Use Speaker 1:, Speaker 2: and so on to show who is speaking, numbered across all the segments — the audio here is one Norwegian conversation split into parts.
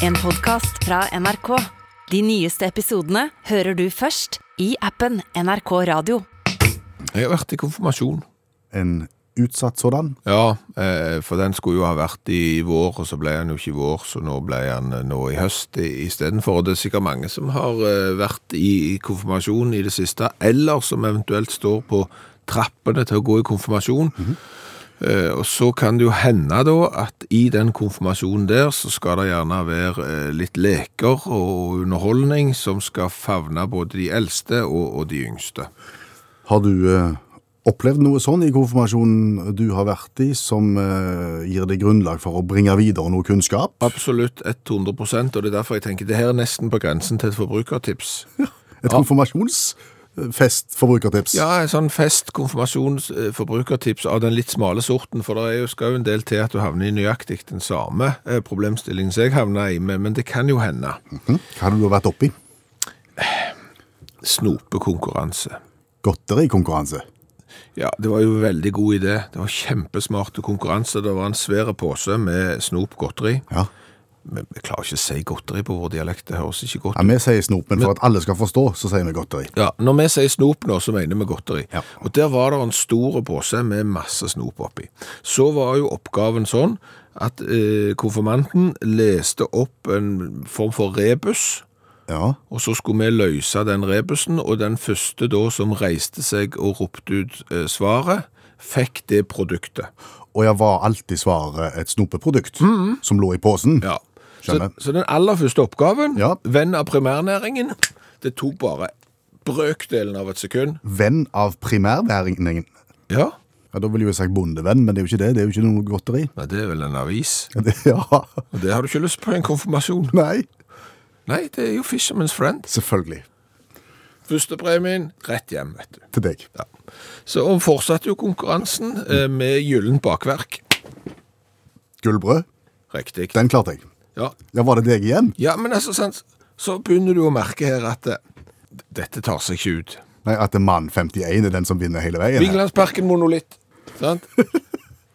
Speaker 1: En podcast fra NRK. De nyeste episodene hører du først i appen NRK Radio.
Speaker 2: Jeg har vært i konfirmasjon.
Speaker 3: en utsatt sådan.
Speaker 2: Ja, eh, for den skulle jo ha vært i vår, og så ble han jo ikke i vår, så nå ble han eh, nå i høst i- istedenfor. Og det er sikkert mange som har eh, vært i konfirmasjon i det siste, eller som eventuelt står på trappene til å gå i konfirmasjon. Eh, Og så kan det jo hende da at i den konfirmasjonen der så skal det gjerne være eh, litt leker og underholdning som skal favne både de eldste og, og de yngste.
Speaker 3: Har du eh, opplevd noe sånn i konfirmasjonen du har vært i, som eh, gir deg grunnlag for å bringe videre noe kunnskap?
Speaker 2: Absolutt 100 og det er derfor jeg tenker det her er nesten på grensen til et forbrukertips.
Speaker 3: Et eh, konfirmasjonsfest forbrukertips?
Speaker 2: Ja, en sånn fest, konfirmasjons, eh, forbrukertips av den litt smale sorten, for det er jo skal jo en del til at du havner i nøyaktig den samme eh, problemstillingen som jeg havna i, men, men det kan jo hende.
Speaker 3: Mhm. Hva har du vært oppi?
Speaker 2: Snopekonkurranse.
Speaker 3: Godterikonkurranse.
Speaker 2: Ja, det var jo en veldig god idé. Det var kjempesmarte konkurranse. Det var en svær pose med snop godteri.
Speaker 3: Ja.
Speaker 2: Men jeg klarer ikke å si godteri på vår dialekt, det høres ikke godt
Speaker 3: ja, Vi sier snop, men for at alle skal forstå, så sier vi godteri.
Speaker 2: Ja, Når vi sier snop nå, så mener vi godteri.
Speaker 3: Ja.
Speaker 2: Og Der var det en stor pose med masse snop oppi. Så var jo oppgaven sånn at eh, konfirmanten leste opp en form for rebus,
Speaker 3: Ja.
Speaker 2: og så skulle vi løse den rebusen, og den første da som reiste seg og ropte ut eh, svaret, fikk det produktet.
Speaker 3: Og jeg var alltid svaret et snopeprodukt som lå i posen.
Speaker 2: Mhm. Ja. Så,
Speaker 3: Skjønner.
Speaker 2: så den aller første oppgaven,
Speaker 3: Ja.
Speaker 2: venn av primærnæringen, det tok bare brøkdelen av et sekund.
Speaker 3: Venn av primærværingen.
Speaker 2: Ja,
Speaker 3: Ja, Da ville jeg jo sagt bondevenn, men det er jo ikke det. Det er jo ikke noe godteri.
Speaker 2: Nei, det er vel en avis.
Speaker 3: Ja, det- Ja,
Speaker 2: Og det har du ikke lyst på i en konfirmasjon.
Speaker 3: Nei.
Speaker 2: Nei, det er jo Fisherman's Friend.
Speaker 3: Selvfølgelig.
Speaker 2: Førstepremien, rett hjem, vet du.
Speaker 3: Til deg.
Speaker 2: Ja. Så og fortsatte jo konkurransen eh, med gyllen bakverk.
Speaker 3: Gullbrød.
Speaker 2: Riktig.
Speaker 3: Den klarte jeg.
Speaker 2: Ja.
Speaker 3: Ja, Var det deg igjen?
Speaker 2: ja, men altså, sant, så begynner du å merke her at eh, dette tar seg ikke ut.
Speaker 3: Nei, At det er mann 51 er den som vinner hele veien? her.
Speaker 2: Vigelandsparken monolitt, sant?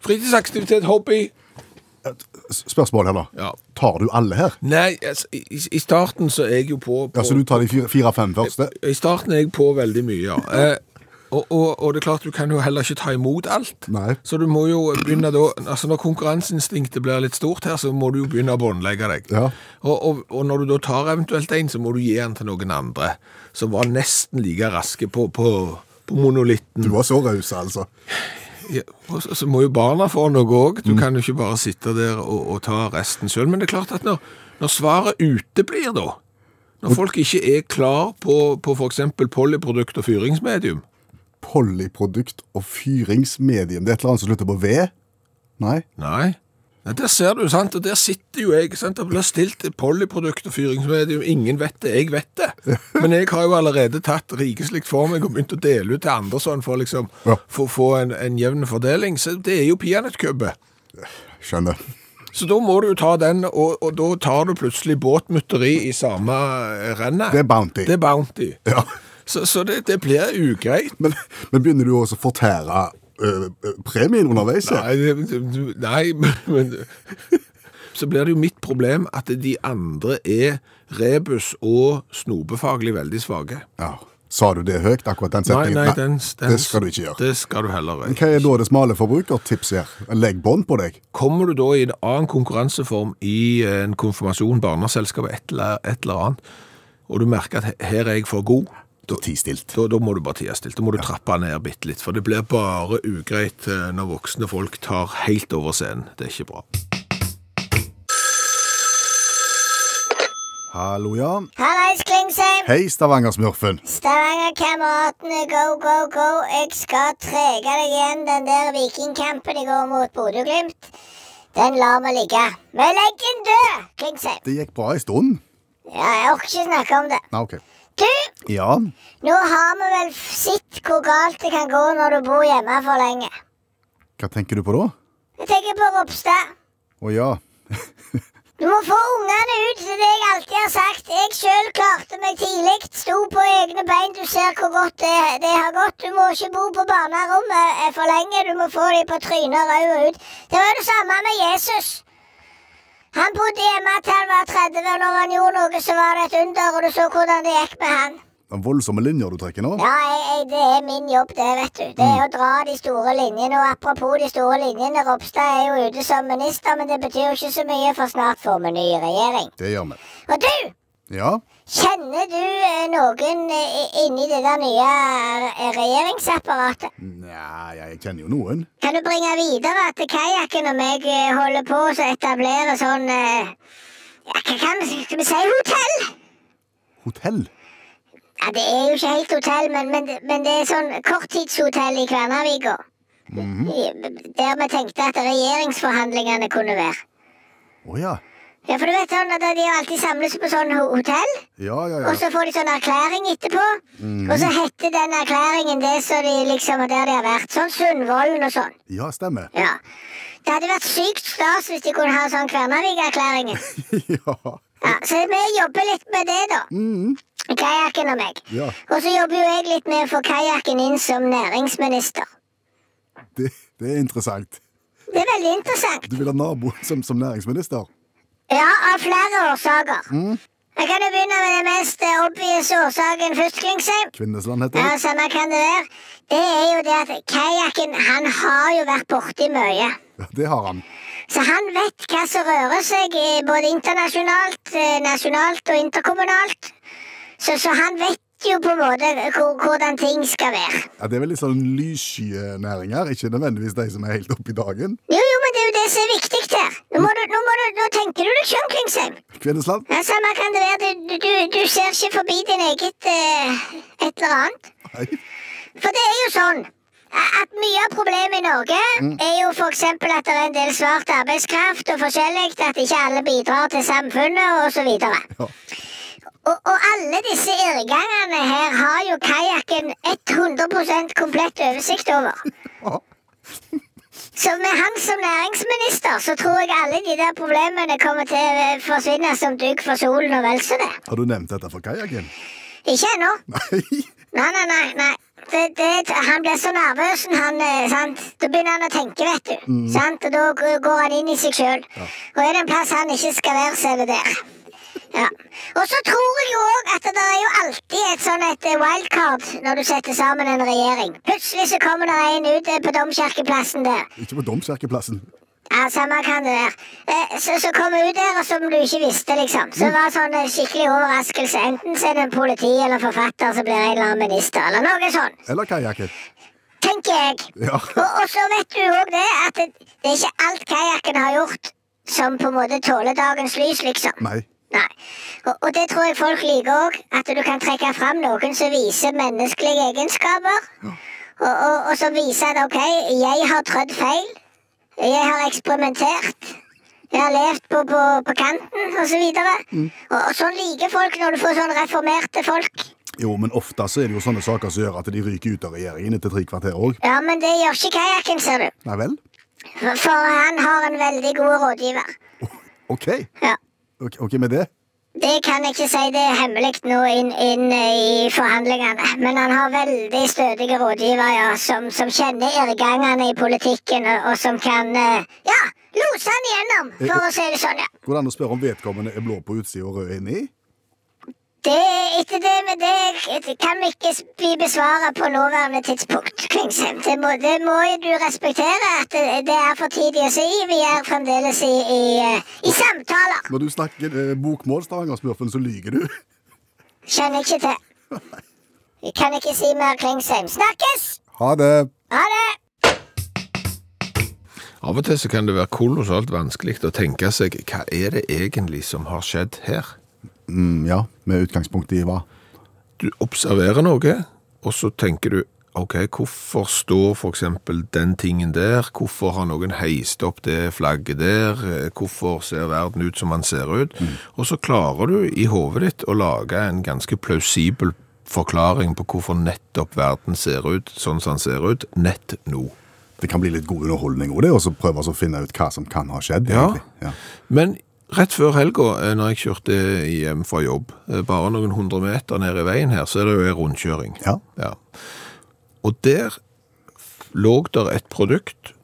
Speaker 2: Fritidsaktivitet, hobby.
Speaker 3: Eh, S- Spørsmål her, da.
Speaker 2: Ja.
Speaker 3: Tar du alle her?
Speaker 2: Nei, altså, i, i- i starten så er jeg jo på, på
Speaker 3: Ja, Så du tar de fire-fem første?
Speaker 2: I starten er jeg på veldig mye, ja. Eh, og, og, og det er klart, du kan jo heller ikke ta imot alt.
Speaker 3: Nei.
Speaker 2: Så du må jo begynne da altså Når konkurranseinstinktet blir litt stort her, så må du jo begynne å båndlegge deg.
Speaker 3: Ja.
Speaker 2: Og, og, og når du da tar eventuelt en, så må du gi den til noen andre som var nesten like raske på, på, på monolitten.
Speaker 3: Du var så raus, altså.
Speaker 2: Ja, og så, så må jo barna få noe òg. Du kan jo ikke bare sitte der og, og ta resten sjøl. Men det er klart at når, når svaret uteblir, da Når folk ikke er klar på, på f.eks. polyprodukt og fyringsmedium
Speaker 3: Pollyprodukt og fyringsmedium. Det er et eller annet som slutter på V? Nei?
Speaker 2: Nei. Ja, der ser du, sant? og der sitter jo jeg. sant? Det blir stilt polyprodukt og fyringsmedium. Ingen vet det, jeg vet det. Men jeg har jo allerede tatt rikeslikt for meg og begynt å dele ut til andre sånn for liksom,
Speaker 3: Ja.
Speaker 2: for å få en, en jevn fordeling. Så det er jo peanøttkubbe.
Speaker 3: Skjønner.
Speaker 2: Så da må du jo ta den, og, og da tar du plutselig båtmutteri i samme eh, rennet.
Speaker 3: Det er Bounty.
Speaker 2: Det er Bounty.
Speaker 3: Ja.
Speaker 2: Så, så det, det blir ugreit.
Speaker 3: Men, men begynner du også å fortære ø, ø, premien underveis? her?
Speaker 2: Nei, det- du- nei men Så blir det jo mitt problem at de andre er rebus og snopefaglig veldig svake.
Speaker 3: Ja. Sa du det høyt, akkurat den
Speaker 2: Nei,
Speaker 3: setningen?
Speaker 2: nei, den, den,
Speaker 3: Det skal du ikke gjøre.
Speaker 2: Det skal du heller
Speaker 3: Hva
Speaker 2: ikke.
Speaker 3: er da det smale forbrukertipset her? Legg bånd på deg?
Speaker 2: Kommer du da i en annen konkurranseform i eh, en konfirmasjon, barneselskap, et eller, et eller annet, og du merker at he- her er jeg for god, da,
Speaker 3: Ti stilt.
Speaker 2: Da, da må du bare tie stilt. Da må du trappe ned bitte litt. For det blir bare ugreit eh, når voksne folk tar helt over scenen. Det er ikke bra.
Speaker 3: Hallo, ja.
Speaker 4: Hallais, Klingsheim!
Speaker 3: Hei, Stavanger-smurfen.
Speaker 4: Stavanger-kameratene, go, go, go! Jeg skal trege deg igjen. Den der vikingkampen i går mot Bodø-Glimt, den lar vi ligge. Vi legger den død, Klingsheim!
Speaker 3: Det gikk bra en stund.
Speaker 4: Ja, jeg orker ikke snakke om det.
Speaker 3: Nei, ok.
Speaker 4: Du,
Speaker 3: Ja.
Speaker 4: nå har vi vel f- sett hvor galt det kan gå når du bor hjemme for lenge.
Speaker 3: Hva tenker du på da?
Speaker 4: Jeg tenker på Ropstad.
Speaker 3: Å ja.
Speaker 4: Du må få ungene ut til det jeg alltid har sagt. Jeg sjøl klarte meg tidlig. Sto på egne bein. Du ser hvor godt det, det har gått. Du må ikke bo på barnerommet eh, for lenge. Du må få dem på trynet og rau og ut. Det var det samme med Jesus. Han bodde hjemme til han var 30, og når han gjorde noe, så var det et under, og du så hvordan det gikk med han.
Speaker 3: Den voldsomme linja du trekker nå?
Speaker 4: Ja, jeg, jeg, det er min jobb, det, vet du. Det er å dra de store linjene. Og apropos de store linjene, Ropstad er jo ute som minister, men det betyr jo ikke så mye, for snart får vi ny regjering.
Speaker 3: Det gjør vi.
Speaker 4: Og du!
Speaker 3: Ja.
Speaker 4: Kjenner du eh, noen eh, inni det der nye eh, regjeringsapparatet?
Speaker 3: Nja, jeg kjenner jo noen.
Speaker 4: Kan du bringe videre at kajakken og meg eh, holder på å etablere sånn eh, ja, Hva kan skal vi si? Hotell?
Speaker 3: Hotell?
Speaker 4: Ja, Det er jo ikke helt hotell, men, men, men det er sånn korttidshotell i Kværnervika. I- Der vi tenkte at regjeringsforhandlingene kunne være.
Speaker 3: Å ja.
Speaker 4: Ja, for du vet sånn at De jo alltid samles på sånn ho- hotell,
Speaker 3: Ja, ja,
Speaker 4: og
Speaker 3: ja.
Speaker 4: så får de sånn erklæring etterpå. Og så heter den erklæringen det som de liksom, der de har vært. Sånn Sundvolden og sånn.
Speaker 3: Ja, stemmer.
Speaker 4: Ja. Det hadde vært sykt stas hvis de kunne ha sånn Kværnervik-erklæringen.
Speaker 3: ja.
Speaker 4: Ja, så vi jobber litt med det, da.
Speaker 3: Mhm.
Speaker 4: Kajakken og meg.
Speaker 3: Ja.
Speaker 4: Og så jobber jo jeg litt med å få kajakken inn som næringsminister.
Speaker 3: Det, det er interessant.
Speaker 4: Det er veldig interessant.
Speaker 3: Du vil ha naboen som, som næringsminister?
Speaker 4: Ja, av flere årsaker. Jeg kan jo begynne med den mest eh, obvious årsaken først, Klingsheim.
Speaker 3: Kvinnesland heter
Speaker 4: Ja,
Speaker 3: det.
Speaker 4: samme kan det være. Det er jo det at kajakken, han har jo vært borti mye.
Speaker 3: Ja, det har han.
Speaker 4: Så han vet hva som rører seg eh, både internasjonalt, eh, nasjonalt og interkommunalt. Så, så han vet jo på en måte hvor- hvordan ting skal være.
Speaker 3: Ja, Det er veldig sånn lyssky eh, næringer, ikke nødvendigvis de som er helt oppe i dagen.
Speaker 4: Jo, jo, men det er jo det som er viktig her. Nå, må du, nå, må du, nå tenker du deg sjøl, Klingsheim.
Speaker 3: Kvinnesland?
Speaker 4: Ja, samme kan det være. Du, du, du ser ikke forbi din eget eh, et eller annet.
Speaker 3: Nei.
Speaker 4: For det er jo sånn at mye av problemet i Norge
Speaker 3: Mm.
Speaker 4: er jo f.eks. at det er en del svart arbeidskraft og forskjellig, at ikke alle bidrar til samfunnet osv.
Speaker 3: Ja.
Speaker 4: Og, og alle disse irrgangene her har jo kajakken 100 komplett oversikt over.
Speaker 3: Ja.
Speaker 4: Så med han som næringsminister så tror jeg alle de der problemene kommer til å eh, forsvinne som dugg for solen og vel så det.
Speaker 3: Har du nevnt dette for kajakken?
Speaker 4: Ikke ennå.
Speaker 3: Nei.
Speaker 4: Nei, nei, nei. nei. Det, det, han blir så nervøs, han, eh, sant? da begynner han å tenke, vet du. Sant? Og da g- går han inn i seg sjøl. Og er det en plass han ikke skal være, så er det der. Ja. Og så tror jeg jo òg at det er jo alltid et sånn et eh, wildcard når du setter sammen en regjering. Plutselig så kommer det en ut eh, på Domkirkeplassen der.
Speaker 3: Ikke på Domkirkeplassen.
Speaker 4: Ja, samme kan det være. Eh, Så, så kom hun der, og som du ikke visste, liksom. Så det var sånn en skikkelig overraskelse. Enten så er det en politi eller forfatter som blir en eller annen minister, eller noe sånn,
Speaker 3: Eller kajakken.
Speaker 4: tenker jeg.
Speaker 3: Ja.
Speaker 4: Og, og så vet du òg det, at det, det er ikke alt kajakken har gjort som på en måte tåler dagens lys, liksom.
Speaker 3: Nei.
Speaker 4: Nei. Og, og det tror jeg folk liker òg. At du kan trekke fram noen som viser menneskelige egenskaper. Og, og, og som viser at OK, jeg har trødd feil. Jeg har eksperimentert. Jeg har levd på, på, på kanten, osv. Og, mm. og, og sånn liker folk når du får sånn reformerte folk.
Speaker 3: Jo, men ofte så er det jo sånne saker som gjør at de ryker ut av regjeringen etter tre kvarter òg.
Speaker 4: Ja, men det gjør ikke kajakken, ser du.
Speaker 3: Nei vel?
Speaker 4: For, for han har en veldig god rådgiver.
Speaker 3: OK.
Speaker 4: Ja.
Speaker 3: OK, ok med det?
Speaker 4: Det kan jeg ikke si, det er hemmelig nå inn, inn eh, i forhandlingene. Men han har veldig stødige rådgivere ja, som, som kjenner irrgangene i politikken, og, og som kan eh, ja, lose han igjennom, for å si det sånn. ja.
Speaker 3: Går det an å spørre om vedkommende er blå på utsida og rød inni?
Speaker 4: Det, etter det, men det, det kan vi ikke bli besvaret på nåværende tidspunkt, Klingsheim. Det må, det må jo du respektere, at det, det er for tidlig å si. Vi er fremdeles i, i, eh, i samtaler.
Speaker 3: Når du snakker eh, bokmål, Stavanger-smurfen, så lyger du.
Speaker 4: Kjenner ikke til. Vi kan ikke si mer, Klingsheim. Snakkes!
Speaker 3: Ha det.
Speaker 4: Ha det!
Speaker 2: Av og til så kan det være kolossalt vanskelig å tenke seg hva er det egentlig som har skjedd her.
Speaker 3: Mm, ja, med utgangspunkt i hva?
Speaker 2: Du observerer noe, og så tenker du ok, hvorfor står f.eks. den tingen der, hvorfor har noen heist opp det flagget der, Eh, hvorfor ser verden ut som den ser ut? Og så klarer du i hodet ditt å lage en ganske plausibel forklaring på hvorfor nettopp verden ser ut sånn som den ser ut, nett nå.
Speaker 3: Det kan bli litt god underholdning òg, og så prøve å finne ut hva som kan ha skjedd.
Speaker 2: Ja.
Speaker 3: egentlig. ja.
Speaker 2: Men rett før helga, eh, når jeg kjørte hjem fra jobb, eh, bare noen hundre meter ned i veien her, så er det jo en rundkjøring.
Speaker 3: Ja.
Speaker 2: Og der lå der et produkt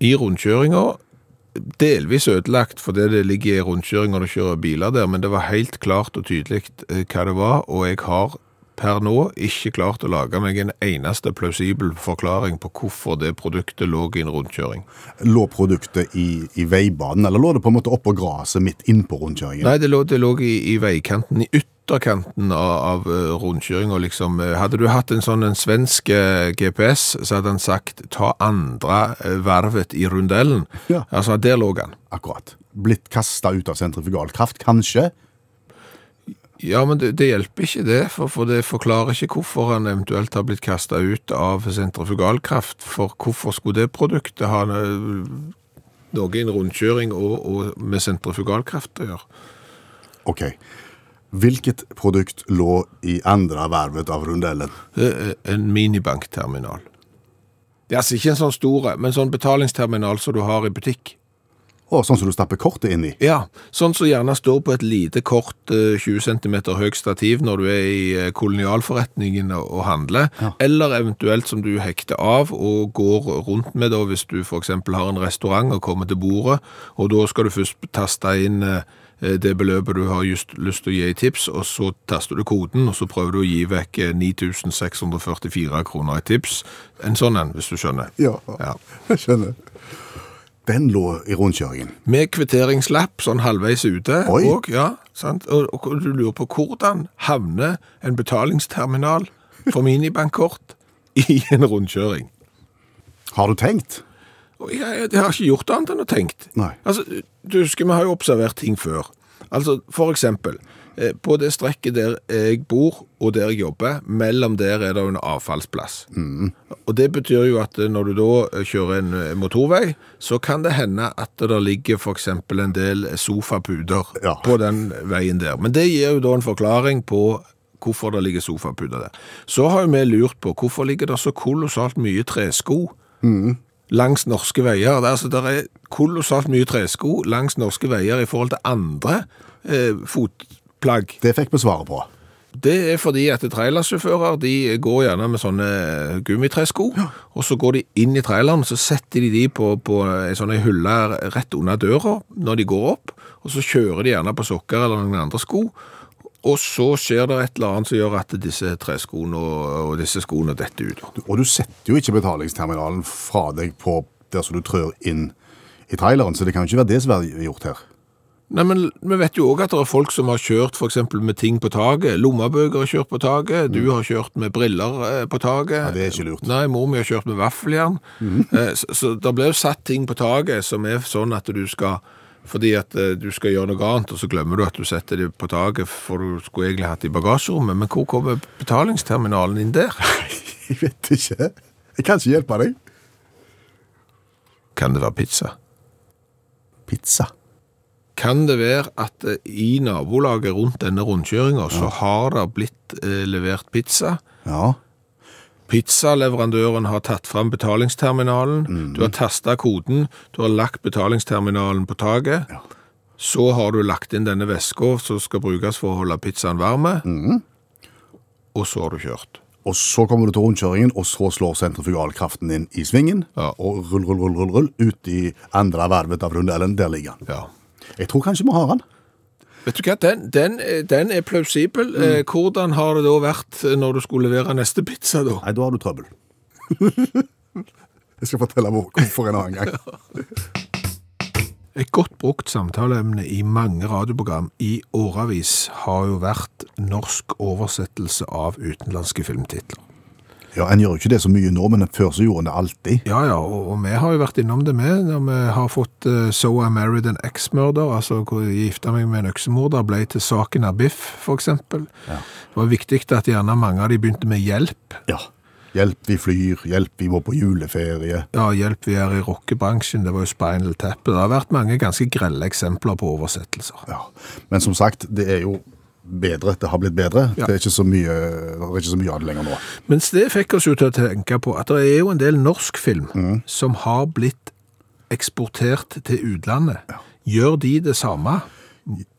Speaker 2: i rundkjøringa delvis ødelagt fordi det ligger i rundkjøring når du kjører biler der, men det var helt klart og tydelig eh, hva det var, og jeg har per nå ikke klart å lage meg en eneste plausibel forklaring på hvorfor det produktet lå i en rundkjøring.
Speaker 3: Lå produktet i, i veibanen, eller lå det på en måte oppå gresset midt innpå rundkjøringen?
Speaker 2: Nei, det lå, det lå i, i veikanten, i ytterkanten av, av eh, rundkjøringa, liksom. Eh, Hadde du hatt en sånn en svensk eh, GPS, så hadde han sagt ta andre eh, varvet i rundellen.
Speaker 3: Ja.
Speaker 2: Altså, der lå han.
Speaker 3: Akkurat. Blitt kasta ut av sentrifugalkraft, kanskje?
Speaker 2: Ja, men det, det hjelper ikke det, for, for det forklarer ikke hvorfor han eventuelt har blitt kasta ut av sentrifugalkraft. For hvorfor skulle det produktet ha eh, noe i en rundkjøring og, og med sentrifugalkraft å gjøre?
Speaker 3: Ok. Hvilket produkt lå i andre vervet av rundellen?
Speaker 2: Det er Eh, En minibankterminal. Det er altså ikke en sånn store, men sånn betalingsterminal som du har i butikk.
Speaker 3: Å, sånn som du stapper kortet inn i?
Speaker 2: Ja, sånn som gjerne står på et lite kort eh, 20 cm høyt stativ når du er i eh, kolonialforretningen og og handler, eller eventuelt som du hekter av og går rundt med da, hvis du for eksempel har en restaurant og kommer til bordet, og da skal du først taste inn eh, det beløpet du har just lyst til å gi i tips, og så taster du koden, og så prøver du å gi vekk eh, 9644 kroner i tips. En sånn en, hvis du skjønner. Ja.
Speaker 3: jeg skjønner. Den lå i rundkjøringen.
Speaker 2: Med kvitteringslapp, sånn halvveis ute.
Speaker 3: Oi.
Speaker 2: Og, ja, sant? Og, og du lurer på hvordan havner en betalingsterminal for minibankkort i en rundkjøring?
Speaker 3: Har du tenkt?
Speaker 2: Og jeg, jeg, har ikke gjort annet enn å tenkt.
Speaker 3: Nei.
Speaker 2: Altså, du husker, vi har jo observert ting før. Altså, for eksempel, eh, på det strekket der jeg bor og der jeg jobber, mellom der er det jo en avfallsplass. Og det betyr jo at eh, når du da eh, kjører en eh, motorvei, så kan det hende at det ligger for eksempel en del eh, sofapuder
Speaker 3: Ja.
Speaker 2: på den veien der. Men det gir jo da en forklaring på hvorfor det ligger sofapuder der. Så har jo vi lurt på hvorfor ligger det så kolossalt mye tresko langs norske veier. Det er, altså, der er kolossalt mye tresko langs norske veier i forhold til andre eh, fotplagg.
Speaker 3: Det fikk vi svaret på.
Speaker 2: Det er fordi at trailersjåfører de går gjerne med sånne gummitresko, og så går de inn i traileren, så setter de de på, på en sånn en hylle rett under døra når de går opp, og så kjører de gjerne på sokker eller noen andre sko, og så skjer det et eller annet som gjør at disse treskoene og, og disse skoene detter ut.
Speaker 3: Du- Og du setter jo ikke betalingsterminalen fra deg på der som du trør inn i traileren, så det kan jo ikke være det som er gjort her.
Speaker 2: Nei, men Vi vet jo òg at det er folk som har kjørt for eksempel med ting på taket. Lommebøker har kjørt på taket, du har kjørt med briller eh, på taket.
Speaker 3: Mm. Ja, det er ikke lurt. Mm.
Speaker 2: Nei, mor mi har kjørt med vaffeljern. Eh, Så, så det blir jo satt ting på taket som er sånn at du skal Fordi at eh, du skal gjøre noe annet, og så glemmer du at du setter det på taket, for du skulle egentlig hatt det i bagasjerommet. Men hvor kommer betalingsterminalen inn der?
Speaker 3: Jeg vet ikke. Jeg kan ikke hjelpe deg.
Speaker 2: Kan det være pizza?
Speaker 3: Pizza.
Speaker 2: Kan det være at eh, i nabolaget rundt denne rundkjøringa, så har det blitt eh, levert pizza?
Speaker 3: Ja.
Speaker 2: Pizzaleverandøren har tatt fram betalingsterminalen, du har tasta koden, du har lagt betalingsterminalen på taket. Så har du lagt inn denne veska som skal brukes for å holde pizzaen varm, og så har du kjørt.
Speaker 3: Og så kommer du til rundkjøringen, og så slår sentrifugalkraften inn i svingen.
Speaker 2: Ja.
Speaker 3: Og rull, rull, rull, rull, rull, ut i andre vervet av rundelen. Der ligger han.
Speaker 2: Ja.
Speaker 3: Jeg tror kanskje vi har han.
Speaker 2: Vet du hva, den, den, er- den er plausibel. Eh, Hvordan har det da vært eh, når du skulle levere neste pizza, da?
Speaker 3: Nei, da har du trøbbel. jeg skal fortelle hvor- hvorfor en annen gang.
Speaker 2: Et godt brukt samtaleemne i mange radioprogram i årevis har jo vært norsk oversettelse av utenlandske filmtitler.
Speaker 3: Ja, En gjør jo ikke det så mye nå, men før så gjorde en det alltid.
Speaker 2: Ja, ja, og, og vi har jo vært innom det med, når vi har fått eh, So I Married an Ex-murder, altså hvor jeg gifta meg med en øksemorder, ble til saken av Biff, for eksempel. Det var viktig at gjerne mange av de begynte med hjelp.
Speaker 3: Ja. Hjelp, vi flyr. Hjelp, vi må på juleferie.
Speaker 2: Ja, hjelp vi er i rockebransjen, det var jo Spinal Tap. Det har vært mange ganske grelle eksempler på oversettelser.
Speaker 3: Ja. Men som sagt, det er jo bedre. Det har blitt bedre.
Speaker 2: Ja.
Speaker 3: Det, er ikke så mye, det er ikke så mye av det lenger nå.
Speaker 2: Mens det fikk oss jo til å tenke på at det er jo en del norsk film som har blitt eksportert til utlandet. Gjør de det samme?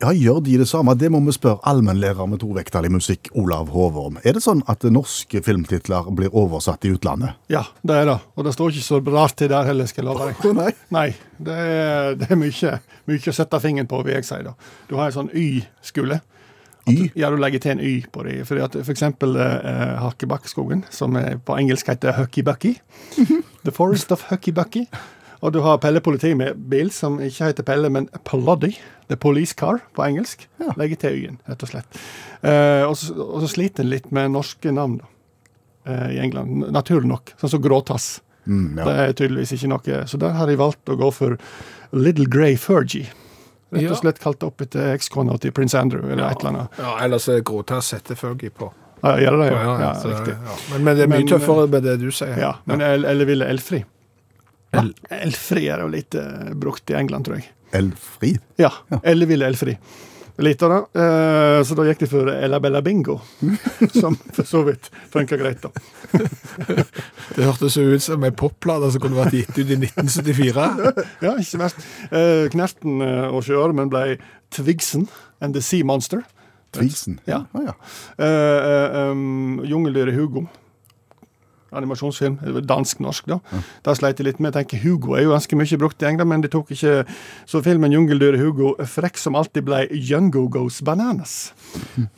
Speaker 3: Ja, gjør de det samme? Det må vi spørre allmennlærer med tovektig musikk, Olav Hove, om. Er det sånn at norske filmtitler blir oversatt i utlandet?
Speaker 5: Ja, det er det. Og det står ikke så rart til der heller, skal jeg love deg.
Speaker 3: Å, nei.
Speaker 5: Nei, det er, det er mye, mye å sette fingeren på, vil jeg si. da. Du har en sånn Y-skole. At
Speaker 3: Y?
Speaker 5: du- Ja, du legger til en Y på det. Fordi at for eksempel eh, Hakkebakkeskogen, som er på engelsk heter Hucky Bucky. The Forest of Hucky Bucky. Og du har Pelle politibil, som ikke heter Pelle, men Ploddy. The Police Car på engelsk. Legger til Y-en, rett og slett. Eh, og, så, og så sliter en litt med norske navn da, eh, i England. N- Naturlig nok. Sånn som Gråtass.
Speaker 3: Mm, ja.
Speaker 5: Det er tydeligvis ikke noe. Så der har de valgt å gå for Little Grey Fergie. Rett
Speaker 2: Ja.
Speaker 5: og slett kalt opp etter ekskona til prins Andrew, eller et eller annet.
Speaker 2: Ja, ellers er Gråtass settefuggy på.
Speaker 5: Ja, gjør det det?
Speaker 2: Ja,
Speaker 5: Ja, ja,
Speaker 2: så-
Speaker 5: riktig.
Speaker 2: ja. Men, men det er mye
Speaker 5: Men,
Speaker 2: tøffere med det du sier.
Speaker 5: Ja, men el- eller ville Elfri.
Speaker 2: El-
Speaker 5: Elfri er jo litt eh, brukt i England, tror jeg.
Speaker 3: Elfri?
Speaker 5: Ja, eller ville Elfri. Litt av det. Eh, så da gikk de for Ella Bella Bingo, som for så vidt funka greit, da.
Speaker 2: Det hørtes jo ut som en popplate som kunne vært gitt ut i 1974.
Speaker 5: Ja, ikke verst. Eh, Knerten eh, og sjøormen ble Twigsen and the Sea Monster.
Speaker 3: Tvigsen?
Speaker 5: Ja.
Speaker 3: Ah, ja.
Speaker 5: Eh, eh, um, Jungeldyret Hugo. Animasjonsfilm. det var Dansk-norsk, da. Det sleit jeg litt med. Jeg tenker Hugo er jo ganske mye brukt i England, men de tok ikke Så filmen 'Jungeldyret Hugo' frekk som alltid ble 'Jungo Goes Bananas',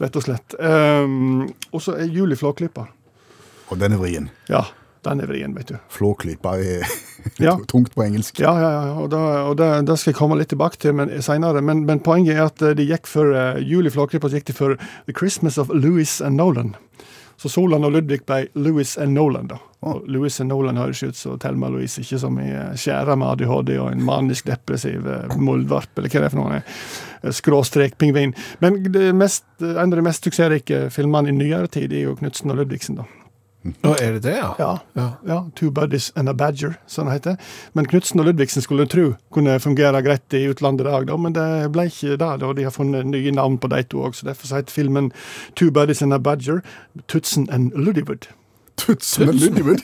Speaker 5: rett og slett. Um, og så er 'Juli Flåklyper'.
Speaker 3: Og den er vrien.
Speaker 5: Ja, den er vrien, vet du.
Speaker 3: Flåklypa er
Speaker 5: Ja.
Speaker 3: tungt på engelsk.
Speaker 5: Ja, ja, ja, og, da, og det, det skal jeg komme litt tilbake til men, senere. Men, men poenget er at eh, de gikk for uh, Juli Flåklypa gikk de for The Christmas of Louis and Nolan. Så Solan og Ludvig ble Louis and Nolan, da. Og Louis and Nolan høres ut som Thelma Louise, ikke som i eh, skjæra med ADHD og en manisk depressiv uh, muldvarp, eller hva det er for noe. eh, Skråstrek pingvin. Men det mest, en av de mest suksessrike filmene i nyere tid er jo Knutsen og Ludvigsen, da.
Speaker 2: Nå er det det, ja.
Speaker 5: Ja, ja, Two Buddies and a Badger, som det heter. Men Knutsen og Ludvigsen skulle en tro kunne fungere greit i utlandet i dag, da, men det ble ikke det. da. De har funnet nye navn på de to òg, så derfor heter filmen Two Buddies and a Badger, Tutsen and Luddywood.
Speaker 3: Tutsen og Luddywood.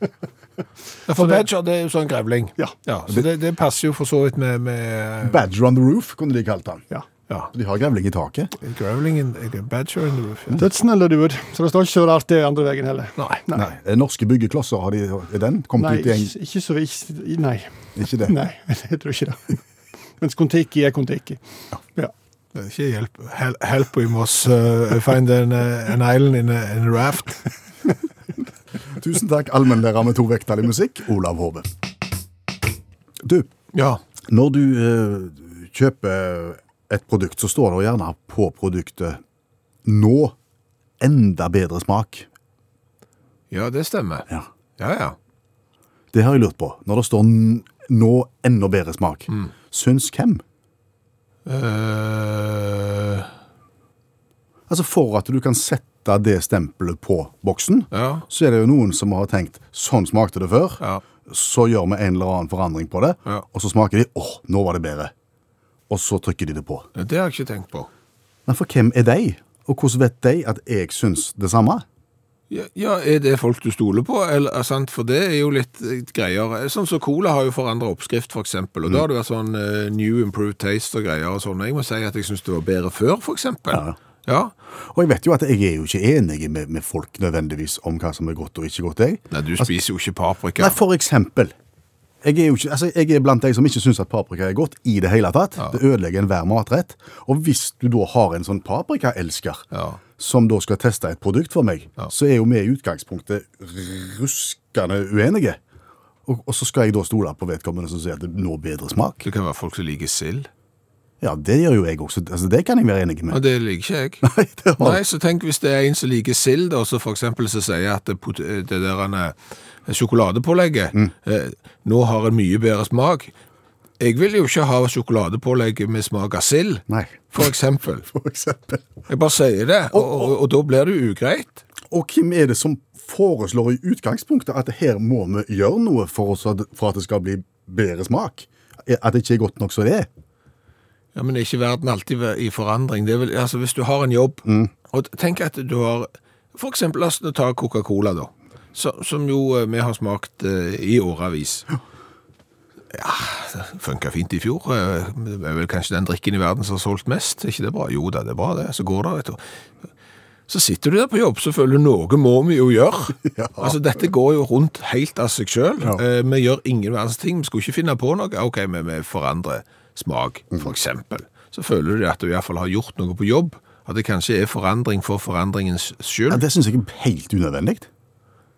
Speaker 2: Ja, For badger det er jo sånn grevling.
Speaker 5: Ja.
Speaker 2: så det, det passer jo for så vidt med, med
Speaker 3: Badger on the roof, kunne de kalt den.
Speaker 5: Ja.
Speaker 2: ja.
Speaker 3: De har grevling i taket.
Speaker 2: Grevlingen Badger in the roof. Ja.
Speaker 5: Tutsen and Luddywood, så det står ikke så rart det andre veien heller.
Speaker 2: Nei.
Speaker 5: Nei.
Speaker 3: Nei. eh, Norske byggeklosser, har de, er den kommet
Speaker 5: Nei,
Speaker 3: ut i eng...
Speaker 5: ikke, ikke så vi- Nei.
Speaker 3: Ikke det?
Speaker 5: Nei, jeg tror ikke det. Mens Kon-Tiki er Kon-Tiki. Ja.
Speaker 2: Det er ikke hjelp. Hel- Help, we must uh, find an, uh, an island in a, in a raft.
Speaker 3: Tusen takk, allmennlærer med tovektig musikk, Olav Hove. Du,
Speaker 2: Ja.
Speaker 3: når du eh, kjøper et produkt, så står det jo gjerne på produktet 'nå enda bedre smak'.
Speaker 2: ja, det stemmer.
Speaker 3: Ja.
Speaker 2: Ja, ja.
Speaker 3: Det har jeg lurt på. Når det står n- 'nå enda bedre smak',
Speaker 2: Mm.
Speaker 3: syns hvem?
Speaker 2: Eh,
Speaker 3: Altså For at du kan sette det stempelet på boksen,
Speaker 2: ja.
Speaker 3: så er det jo noen som har tenkt 'sånn smakte det før',
Speaker 2: Ja.
Speaker 3: så gjør vi en eller annen forandring på det,
Speaker 2: Ja.
Speaker 3: og så smaker de 'åh, nå var det bedre'. Og så trykker de det på.
Speaker 2: Det har jeg ikke tenkt på.
Speaker 3: Men for hvem er de? Og hvordan vet de at jeg syns det samme?
Speaker 2: Ja, ja, er det folk du stoler på? Eller, er sant? For det er jo litt eh, greier. Sånn som Cola har jo forandra oppskrift, for eksempel.
Speaker 3: Mm.
Speaker 2: Og da har det vært sånn eh, new improved taste og greier og sånn. Jeg må si at jeg syns det var bedre før, for eksempel.
Speaker 3: Ja.
Speaker 2: ja.
Speaker 3: Og jeg vet jo at jeg er jo ikke enig med, med folk nødvendigvis om hva som er godt og ikke godt, jeg.
Speaker 2: Nei, du spiser jo ikke paprika.
Speaker 3: Altså- Nei, for eksempel. Jeg er, jo ikke, altså, jeg er blant de som ikke syns at paprika er godt i det hele tatt. Det ødelegger enhver matrett. Og hvis du da har en sånn paprikaelsker
Speaker 2: Ja.
Speaker 3: som da skal teste et produkt for meg, så er jo vi i utgangspunktet ruskende uenige. Og, og så skal jeg da stole på vedkommende som sier at det nå bedre smak.
Speaker 2: Det kan være folk som liker sild.
Speaker 3: Ja, det gjør jo jeg også. Altså, det kan jeg være enig
Speaker 2: Ja,
Speaker 3: med.
Speaker 2: det liker ikke jeg.
Speaker 3: Nei, det har-
Speaker 2: Nei, så tenk hvis det er en som liker sild, og så for eksempel så sier jeg at det, pot- det der han, eh, sjokoladepålegget,
Speaker 3: Mm.
Speaker 2: eh, nå har en mye bedre smak. Jeg vil jo ikke ha sjokoladepålegg med smak av sild,
Speaker 3: Nei,
Speaker 2: for eksempel.
Speaker 3: for eksempel.
Speaker 2: Jeg bare sier det, og, og, og da blir det jo ugreit.
Speaker 3: Og hvem er det som foreslår i utgangspunktet at her må vi gjøre noe for, oss at, for at det skal bli bedre smak? At det ikke er godt nok som det er?
Speaker 2: Ja, men er ikke verden alltid i forandring? Det er vel, altså, hvis du har en jobb, og tenk at du har, for eksempel, la oss ta Coca-Cola da, så, som jo eh, vi har smakt eh, i åravis. Ja, det funka fint i fjor. Eh, Det er vel kanskje den drikken i verden som har solgt mest. Er ikke det bra? Jo da, det er bra det. Så går det, vet du. Så sitter du der på jobb, så føler du noe må vi jo gjøre.
Speaker 3: Ja.
Speaker 2: Altså, dette går jo rundt helt av seg sjøl.
Speaker 3: Ja.
Speaker 2: Eh, vi gjør ingen verdens ting. Vi skulle ikke finne på noe. OK, men vi forandrer smak,
Speaker 3: Mm.
Speaker 2: for eksempel. Så føler du at du iallfall har gjort noe på jobb. At det kanskje er forandring for forandringens skyld.
Speaker 3: Ja, det syns jeg er helt unødvendig.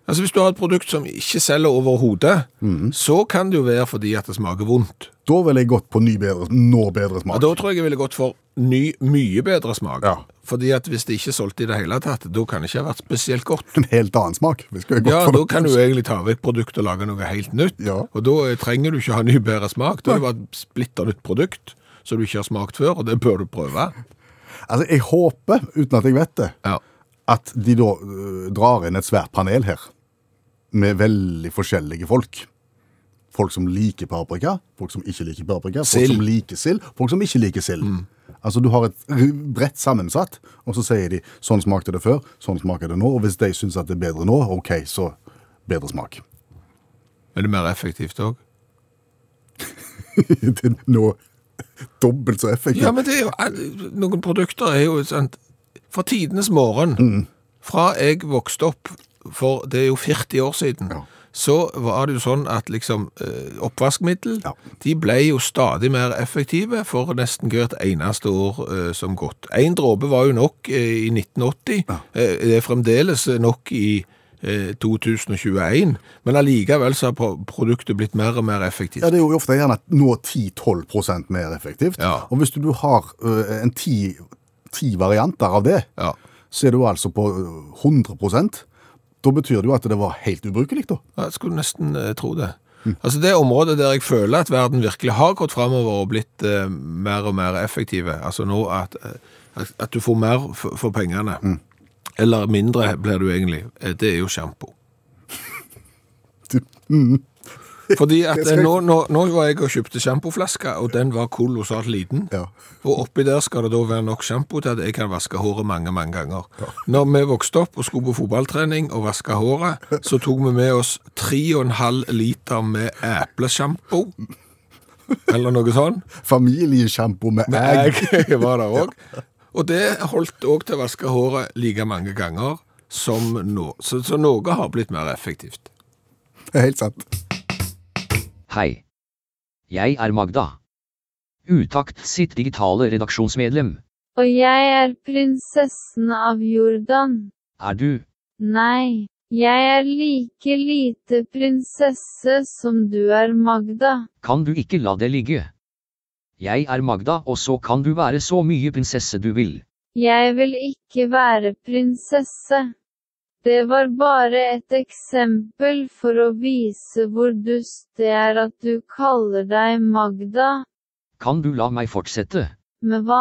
Speaker 2: Altså Hvis du har et produkt som ikke selger overhodet,
Speaker 3: Mm.
Speaker 2: så kan det jo være fordi at det smaker vondt.
Speaker 3: Da ville jeg gått på ny bedre, nå bedre
Speaker 2: Og
Speaker 3: smak.
Speaker 2: Da tror jeg jeg ville gått for ny, mye bedre smak.
Speaker 3: Ja.
Speaker 2: Fordi at hvis det ikke er solgt i det hele tatt, da kan det ikke ha vært spesielt godt.
Speaker 3: En helt annen smak. Vi skulle gått
Speaker 2: Ja,
Speaker 3: for
Speaker 2: da
Speaker 3: noe-
Speaker 2: kan du egentlig ta vekk produktet og lage noe helt nytt.
Speaker 3: Ja.
Speaker 2: Og da eh, trenger du ikke ha ny, bedre smak. Da er det bare et splitter nytt produkt som du ikke har smakt før, og det bør du prøve.
Speaker 3: Altså, jeg håper, uten at jeg vet det,
Speaker 2: Ja.
Speaker 3: at de da øh, drar inn et svært panel her, med veldig forskjellige folk. Folk som liker paprika, folk som ikke liker paprika,
Speaker 2: Sild. Mm.
Speaker 3: folk som liker sild, folk som ikke liker sild. Altså, du har et r- bredt sammensatt, og så sier de, sånn smakte det før, sånn smaker det nå, og hvis de synes at det er bedre nå, ok, så bedre smak.
Speaker 2: Er det mer effektivt òg?
Speaker 3: det er nå dobbelt så effektivt.
Speaker 2: Ja, men det er jo, all- noen produkter er jo sant, fra tidenes morgen,
Speaker 3: Mm.
Speaker 2: fra jeg vokste opp, for det er jo 40 år siden,
Speaker 3: Ja.
Speaker 2: så var det jo sånn at liksom eh, oppvaskmiddel,
Speaker 3: Ja.
Speaker 2: de ble jo stadig mer effektive for nesten hvert eneste år eh, som gått. En dråpe var jo nok eh, i 1980, Eh, det er fremdeles nok i eh, 2021, men allikevel så har pro- produktet blitt mer og mer effektivt.
Speaker 3: Ja, det er jo ofte gjerne nå 10-12 mer effektivt.
Speaker 2: Ja.
Speaker 3: Og hvis du, du har ø, en ti, ti varianter av det,
Speaker 2: Ja.
Speaker 3: så er du altså på ø, 100 Da betyr det jo at det var helt ubrukelig, da.
Speaker 2: Ja, Jeg skulle nesten eh, tro det. Altså Det området der jeg føler at verden virkelig har gått framover og blitt eh, mer og mer effektive, altså nå at, eh, at, at du får mer f- for pengene, eller mindre blir du egentlig, eh, det er jo sjampo.
Speaker 3: Du- Mm.
Speaker 2: Fordi at
Speaker 3: Det skal
Speaker 2: eh,
Speaker 3: jeg-
Speaker 2: nå, nå, nå var jeg og kjøpte sjampoflaske, og den var kolossalt liten.
Speaker 3: Ja.
Speaker 2: Og oppi der skal det da være nok sjampo til at jeg kan vaske håret mange, mange ganger. Når vi vokste opp og skulle på fotballtrening og vaske håret, så tok vi med oss 3,5 liter med eplesjampo. Eller noe sånt.
Speaker 3: Familiesjampo med egg.
Speaker 2: Jeg var der òg. Og det holdt òg til å vaske håret like mange ganger som nå. Så, så noe har blitt mer effektivt.
Speaker 3: Det er Helt sant.
Speaker 6: Hei. Jeg er Magda. Utakt sitt digitale redaksjonsmedlem.
Speaker 7: Og jeg er prinsessen av Jordan.
Speaker 6: Er du?
Speaker 7: Nei, jeg er like lite prinsesse som du er Magda.
Speaker 6: Kan du ikke la det ligge? Jeg er Magda, og så kan du være så mye prinsesse du vil.
Speaker 7: Jeg vil ikke være prinsesse. Det var bare et eksempel for å vise hvor dust det er at du kaller deg Magda.
Speaker 6: Kan du la meg fortsette?
Speaker 7: Med hva?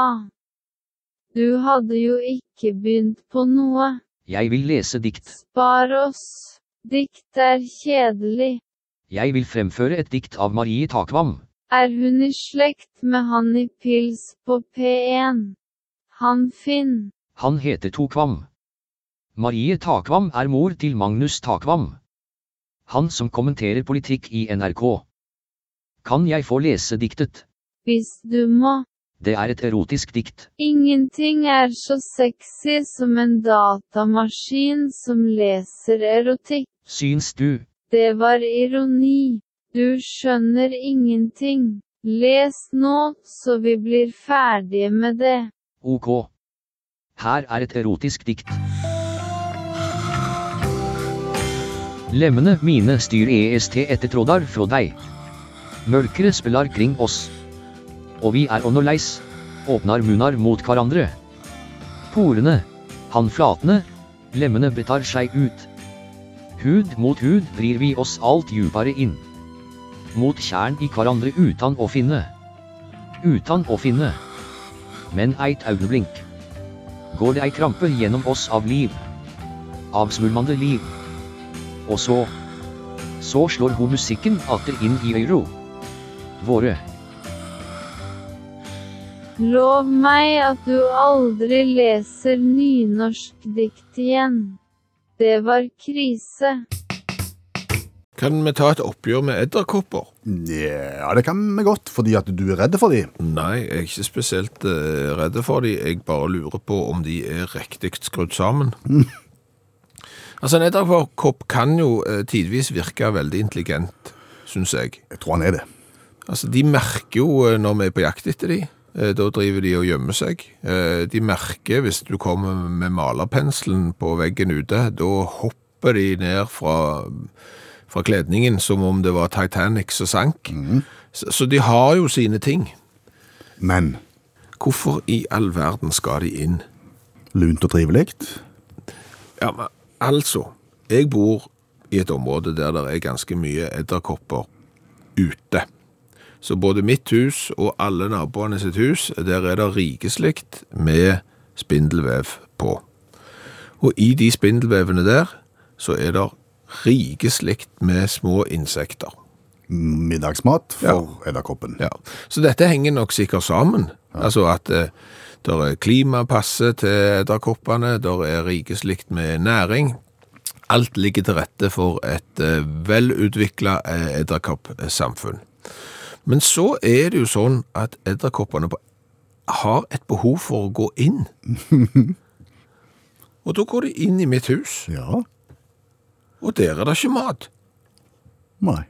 Speaker 7: Du hadde jo ikke begynt på noe.
Speaker 6: Jeg vil lese dikt.
Speaker 7: Spar oss. Dikt er kjedelig.
Speaker 6: Jeg vil fremføre et dikt av Marie Takvam.
Speaker 7: Er hun i slekt med han i pils på P1? Han Finn.
Speaker 6: Han heter Tokvam. Marie Takvam er mor til Magnus Takvam. Han som kommenterer politikk i NRK. Kan jeg få lese diktet?
Speaker 7: Hvis du må.
Speaker 6: Det er et erotisk dikt.
Speaker 7: Ingenting er så sexy som en datamaskin som leser erotikk.
Speaker 6: Syns du?
Speaker 7: Det var ironi. Du skjønner ingenting. Les nå, så vi blir ferdige med det.
Speaker 6: Ok. Her er et erotisk dikt. Lemmene mine styr E EST ettertrådar fra deg. Mørkere spiller kring oss. Og vi er underleis. Åpnar munnar mot hverandre. Porene. Han flatne. Lemmene bretar seg ut. Hud mot hud vrir vi oss alt djupere inn. Mot kjern i hverandre utan å finne. Utan å finne men eit øyeblink. Går det ei krampe gjennom oss av liv. Avsvulmande liv. Og så Så slår hun musikken atter inn i øyro. Våre.
Speaker 7: Lov meg at du aldri leser nynorsk dikt igjen. Det var krise.
Speaker 2: Kan vi ta et oppgjør med edderkopper?
Speaker 3: Ja, det kan vi godt, fordi at du er redd for dem.
Speaker 2: Nei, jeg er ikke spesielt eh, redd for de. Jeg bare lurer på om de er riktig skrudd sammen. Altså, en edderkopp kan jo eh, tidvis virke veldig intelligent, syns jeg.
Speaker 3: Jeg tror han er det.
Speaker 2: Altså, de merker jo eh, når vi er på jakt etter de. Eh, Da driver de og gjemmer seg. Eh, De merker hvis du kommer med malerpenselen på veggen ute, da hopper de ned fra, fra kledningen som om det var Titanic som sank. Så, så de har jo sine ting.
Speaker 3: Men
Speaker 2: Hvorfor i all verden skal de inn?
Speaker 3: lunt og trivelig.
Speaker 2: Ja, men altså, jeg bor i et område der det er ganske mye edderkopper ute. Så både mitt hus og alle naboene sitt hus, der er det rikeslikt med spindelvev på. Og i de spindelvevene der, så er det rikeslikt med små insekter.
Speaker 3: Middagsmat for edderkoppen.
Speaker 2: Ja. Så dette henger nok sikkert sammen. Altså at eh, der er klimapasse til edderkoppene, der er rikeslikt med næring. Alt ligger til rette for et eh, velutvikla eh, edderkoppsamfunn. Men så er det jo sånn at edderkoppene på- har et behov for å gå inn. Og da går de inn i mitt hus,
Speaker 3: Ja.
Speaker 2: og der er det ikke mat.
Speaker 3: Nei.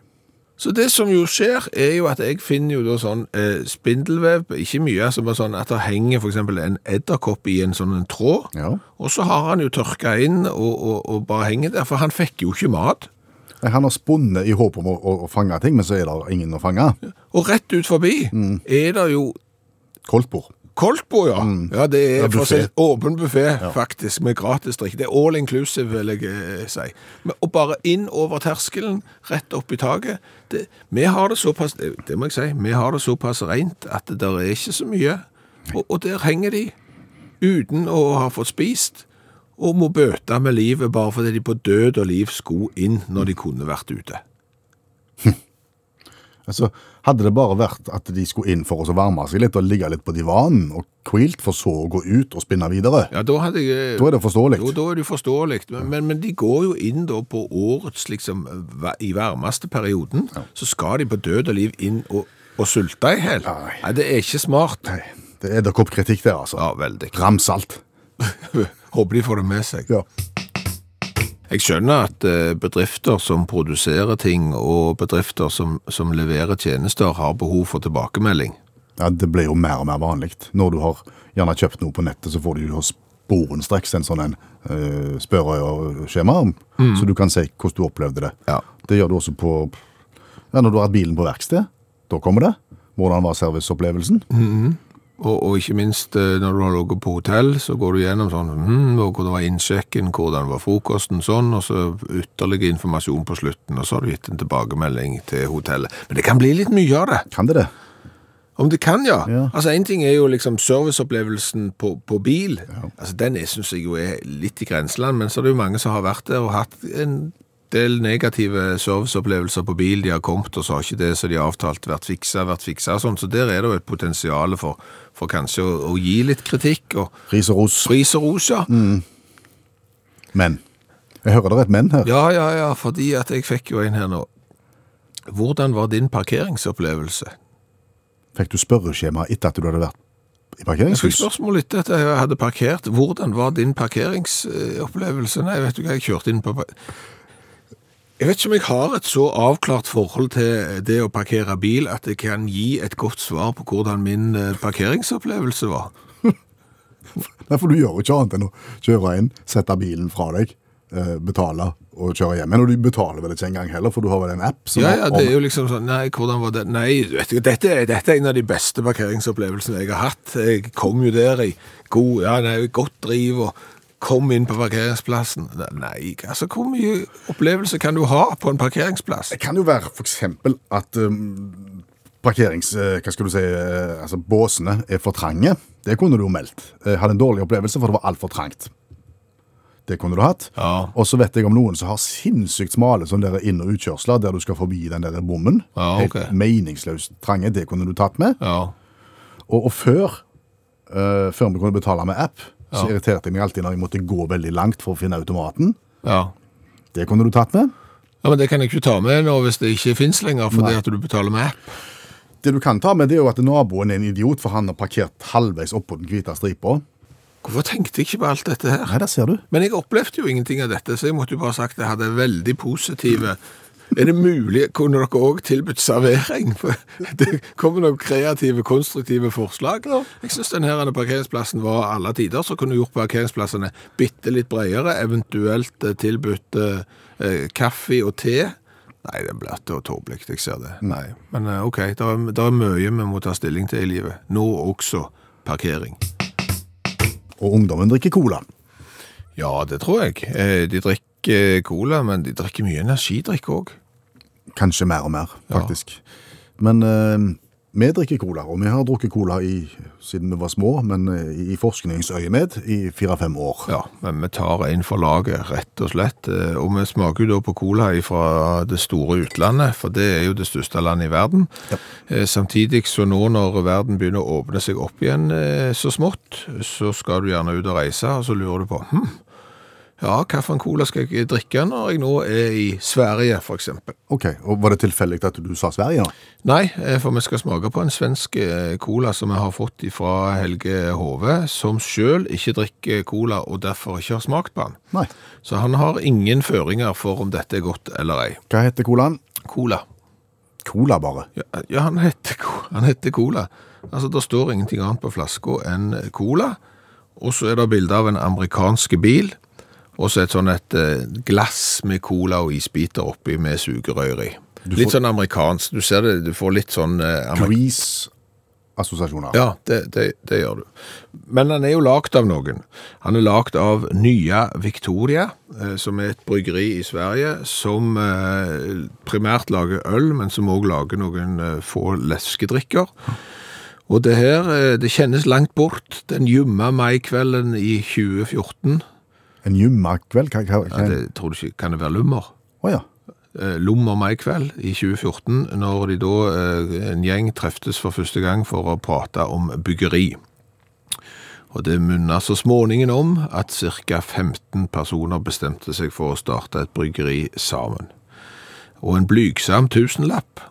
Speaker 2: Så det som jo skjer, er jo at jeg finner jo da sånn eh, spindelvev, ikke mye, altså bare sånn at det henger for eksempel en edderkopp i en sånn en tråd,
Speaker 3: Ja.
Speaker 2: og så har han jo tørka inn og, og, og bare henger der, for han fikk jo ikke mat.
Speaker 3: Nei, Han har spunnet i håp om å, å, å fange ting, men så er det ingen å fange.
Speaker 2: Og rett ut forbi er det jo
Speaker 3: Koldtbord.
Speaker 2: Koltbo, ja. Ja, det er
Speaker 3: Mm. Ja,
Speaker 2: for å si,
Speaker 3: buffet.
Speaker 2: åpen buffé, faktisk, med gratis drikk. Det er all inclusive, vil jeg eh, si. Men, og bare inn over terskelen, rett opp i taket. Det, vi har det såpass det, det må jeg si, vi har det såpass rent at det der er ikke så mye. Og, og der henger de, uten å ha fått spist, og må bøte med livet bare fordi de på død og liv skulle inn når de kunne vært ute.
Speaker 3: Altså, hadde det bare vært at de skulle inn for oss å varme seg litt og ligge litt på divanen og hvilt, for så å gå ut og spinne videre,
Speaker 2: Ja, da hadde jeg eh,
Speaker 3: da er det forståelig.
Speaker 2: Jo, da er det jo forståelig, men, men, men de går jo inn da på årets, liksom, va- i varmeste perioden, så skal de på død og liv inn og, og sulte i hel.
Speaker 3: Nei.
Speaker 2: Nei, det er ikke smart.
Speaker 3: Nei, det er edderkoppkritikk der, altså.
Speaker 2: Ja, veldig.
Speaker 3: Ramsalt.
Speaker 2: Håper de får det med seg.
Speaker 3: Ja.
Speaker 2: Jeg skjønner at eh, bedrifter som produserer ting og bedrifter som, som leverer tjenester har behov for tilbakemelding.
Speaker 3: ja, det blir jo mer og mer vanlig. Når du har gjerne kjøpt noe på nettet, så får du jo sporenstreks en sånn en eh, spørreskjema, så du kan si hvordan du opplevde det.
Speaker 2: Mm. Ja.
Speaker 3: Det gjør du også på, ja, når du har hatt bilen på verksted, da kommer det. Hvordan var serviceopplevelsen?
Speaker 2: Mm. Og, og ikke minst eh, når du har ligget på hotell, så går du gjennom sånn hmm, og hvordan var innsjekken, hvordan var frokosten, sånn, og så ytterligere informasjon på slutten, og så har du gitt en tilbakemelding til hotellet. Men det kan bli litt mye av det.
Speaker 3: Kan det det?
Speaker 2: Om det kan, ja.
Speaker 3: Ja.
Speaker 2: Altså, En ting er jo liksom serviceopplevelsen på, på bil. Altså, Den syns jeg jo er litt i grenseland, men så er det jo mange som har vært der og hatt en del negative serviceopplevelser på bil. De har kommet, og så har ikke det som de har avtalt vært fiksa, vært fiksa og sånn. Så der er det jo et potensial for, for kanskje å, å gi litt kritikk. og
Speaker 3: Ris og ros.
Speaker 2: Pris og ros, ja.
Speaker 3: Men. Jeg hører det er et men her.
Speaker 2: Ja, ja, ja, fordi at jeg fikk jo en her nå. Hvordan var din parkeringsopplevelse?
Speaker 3: Fikk du spørreskjema etter at du hadde vært i
Speaker 2: Jeg fikk
Speaker 3: parkeringshus?
Speaker 2: spørsmål litt etter jeg hadde parkert. Hvordan var din parkeringsopplevelse? Nei, vet du hva, jeg kjørte inn på par- Jeg vet ikke om jeg har et så avklart forhold til det å parkere bil at jeg kan gi et godt svar på hvordan min eh, parkeringsopplevelse var.
Speaker 3: Nei, for du gjør jo ikke annet enn å kjøre inn, sette bilen fra deg, eh, betale og kjøre hjem. Men du betaler vel ikke engang heller, for du har vel en app? som
Speaker 2: Ja, ja,
Speaker 3: har-
Speaker 2: det er jo liksom sånn Nei, hvordan var det Nei, vet du, dette, er- dette er en av de beste parkeringsopplevelsene jeg har hatt. Jeg kom jo der i god, ja, nei, godt driv og kom inn på parkeringsplassen. Nei, altså hvor mye opplevelse kan du ha på en parkeringsplass?
Speaker 3: Det kan jo være for eksempel at um, parkerings... eh, hva skal du si? eh, altså, båsene er for trange. Det kunne du jo meldt. Jeg hadde en dårlig opplevelse, for det var altfor trangt. Det kunne du hatt.
Speaker 2: Ja.
Speaker 3: Og så vet jeg om noen som har sinnssykt smale sånn der inn- og utkjørsler, der du skal forbi den der bommen.
Speaker 2: Ja, ok.
Speaker 3: Helt meningsløst trange, det kunne du tatt med.
Speaker 2: Ja.
Speaker 3: Og, og før, eh, før vi kunne betale med app, så
Speaker 2: Ja.
Speaker 3: irriterte jeg meg alltid når jeg måtte gå veldig langt for å finne automaten.
Speaker 2: Ja.
Speaker 3: Det kunne du tatt med.
Speaker 2: Ja, men Det kan jeg ikke ta med nå hvis det ikke fins lenger, fordi at du betaler med app.
Speaker 3: Det du kan ta med, det er jo at naboen er en idiot, for han har parkert halvveis oppå den hvite stripa.
Speaker 2: Hvorfor tenkte jeg ikke på alt dette her?
Speaker 3: Nei, der ser du.
Speaker 2: Men jeg opplevde jo ingenting av dette, så jeg måtte jo bare ha sagt at jeg hadde veldig positive Er det mulig? Kunne dere òg tilbudt servering? For Det kommer noen kreative, konstruktive forslag. Jeg syns denne parkeringsplassen var alle tider, så kunne du gjort parkeringsplassene bitte litt bredere, eventuelt eh, tilbudt eh, eh, kaffe og te. Nei, det er bløtt og tåpelig, jeg ser det. Nei. Men eh, OK, det er, der er mye vi må ta stilling til i livet. Nå også parkering.
Speaker 3: Og ungdommen drikker cola.
Speaker 2: Ja, det tror jeg. Eh, De drikker cola, men de drikker mye energidrikk òg.
Speaker 3: Kanskje mer og mer, faktisk. Men eh, vi drikker cola, og vi har drukket cola i, siden vi var små, men eh, i forskningsøyemed i fire-fem år.
Speaker 2: Ja, men vi tar en for laget, rett og slett. Eh, Og vi smaker jo da på cola fra det store utlandet, for det er jo det største landet i verden. Eh, Samtidig så nå når verden begynner å åpne seg opp igjen eh, så smått, så skal du gjerne ut og reise, og så lurer du på hm, ja, hvilken cola skal jeg drikke når jeg nå er i Sverige, for eksempel?
Speaker 3: Ok, og Var det tilfeldig at du sa Sverige? da?
Speaker 2: Nei, eh, for vi skal smake på en svensk eh, cola som vi har fått fra Helge Hove, som sjøl ikke drikker cola og derfor ikke har smakt på den.
Speaker 3: Nei.
Speaker 2: Så han har ingen føringer for om dette er godt eller ei.
Speaker 3: Hva heter colaen?
Speaker 2: Cola.
Speaker 3: Cola, bare.
Speaker 2: Ja, eh, ja han, heter, Co- han heter Cola. Altså, Det står ingenting annet på flaska enn Cola. Og så er det bilde av en amerikansk bil, og så et sånn et eh, glass med cola og isbiter oppi med sugerør i. Litt sånn amerikansk. Du ser det, du får litt sånn eh, amerik-
Speaker 3: Grease-assosiasjoner.
Speaker 2: Ja, det, det, det gjør du. Men han er jo lagd av noen. Han er lagd av Nya Victoria, eh, som er et bryggeri i Sverige, som eh, primært lager øl, men som òg lager noen eh, få leskedrikker. Og det her, eh, det kjennes langt bort. Den ljumma maikvelden i 2014.
Speaker 3: En jummakveld? Hva, hva,
Speaker 2: Ja,
Speaker 3: hva?
Speaker 2: det tror du ikke Kan det være lummer?
Speaker 3: Å ja.
Speaker 2: eh, lommer meg kveld i 2014, når de da, eh, en gjeng treftes for første gang for å prate om byggeri. Og det munna så småningen om at ca. 15 personer bestemte seg for å starte et bryggeri sammen. Og en blygsam tusenlapp.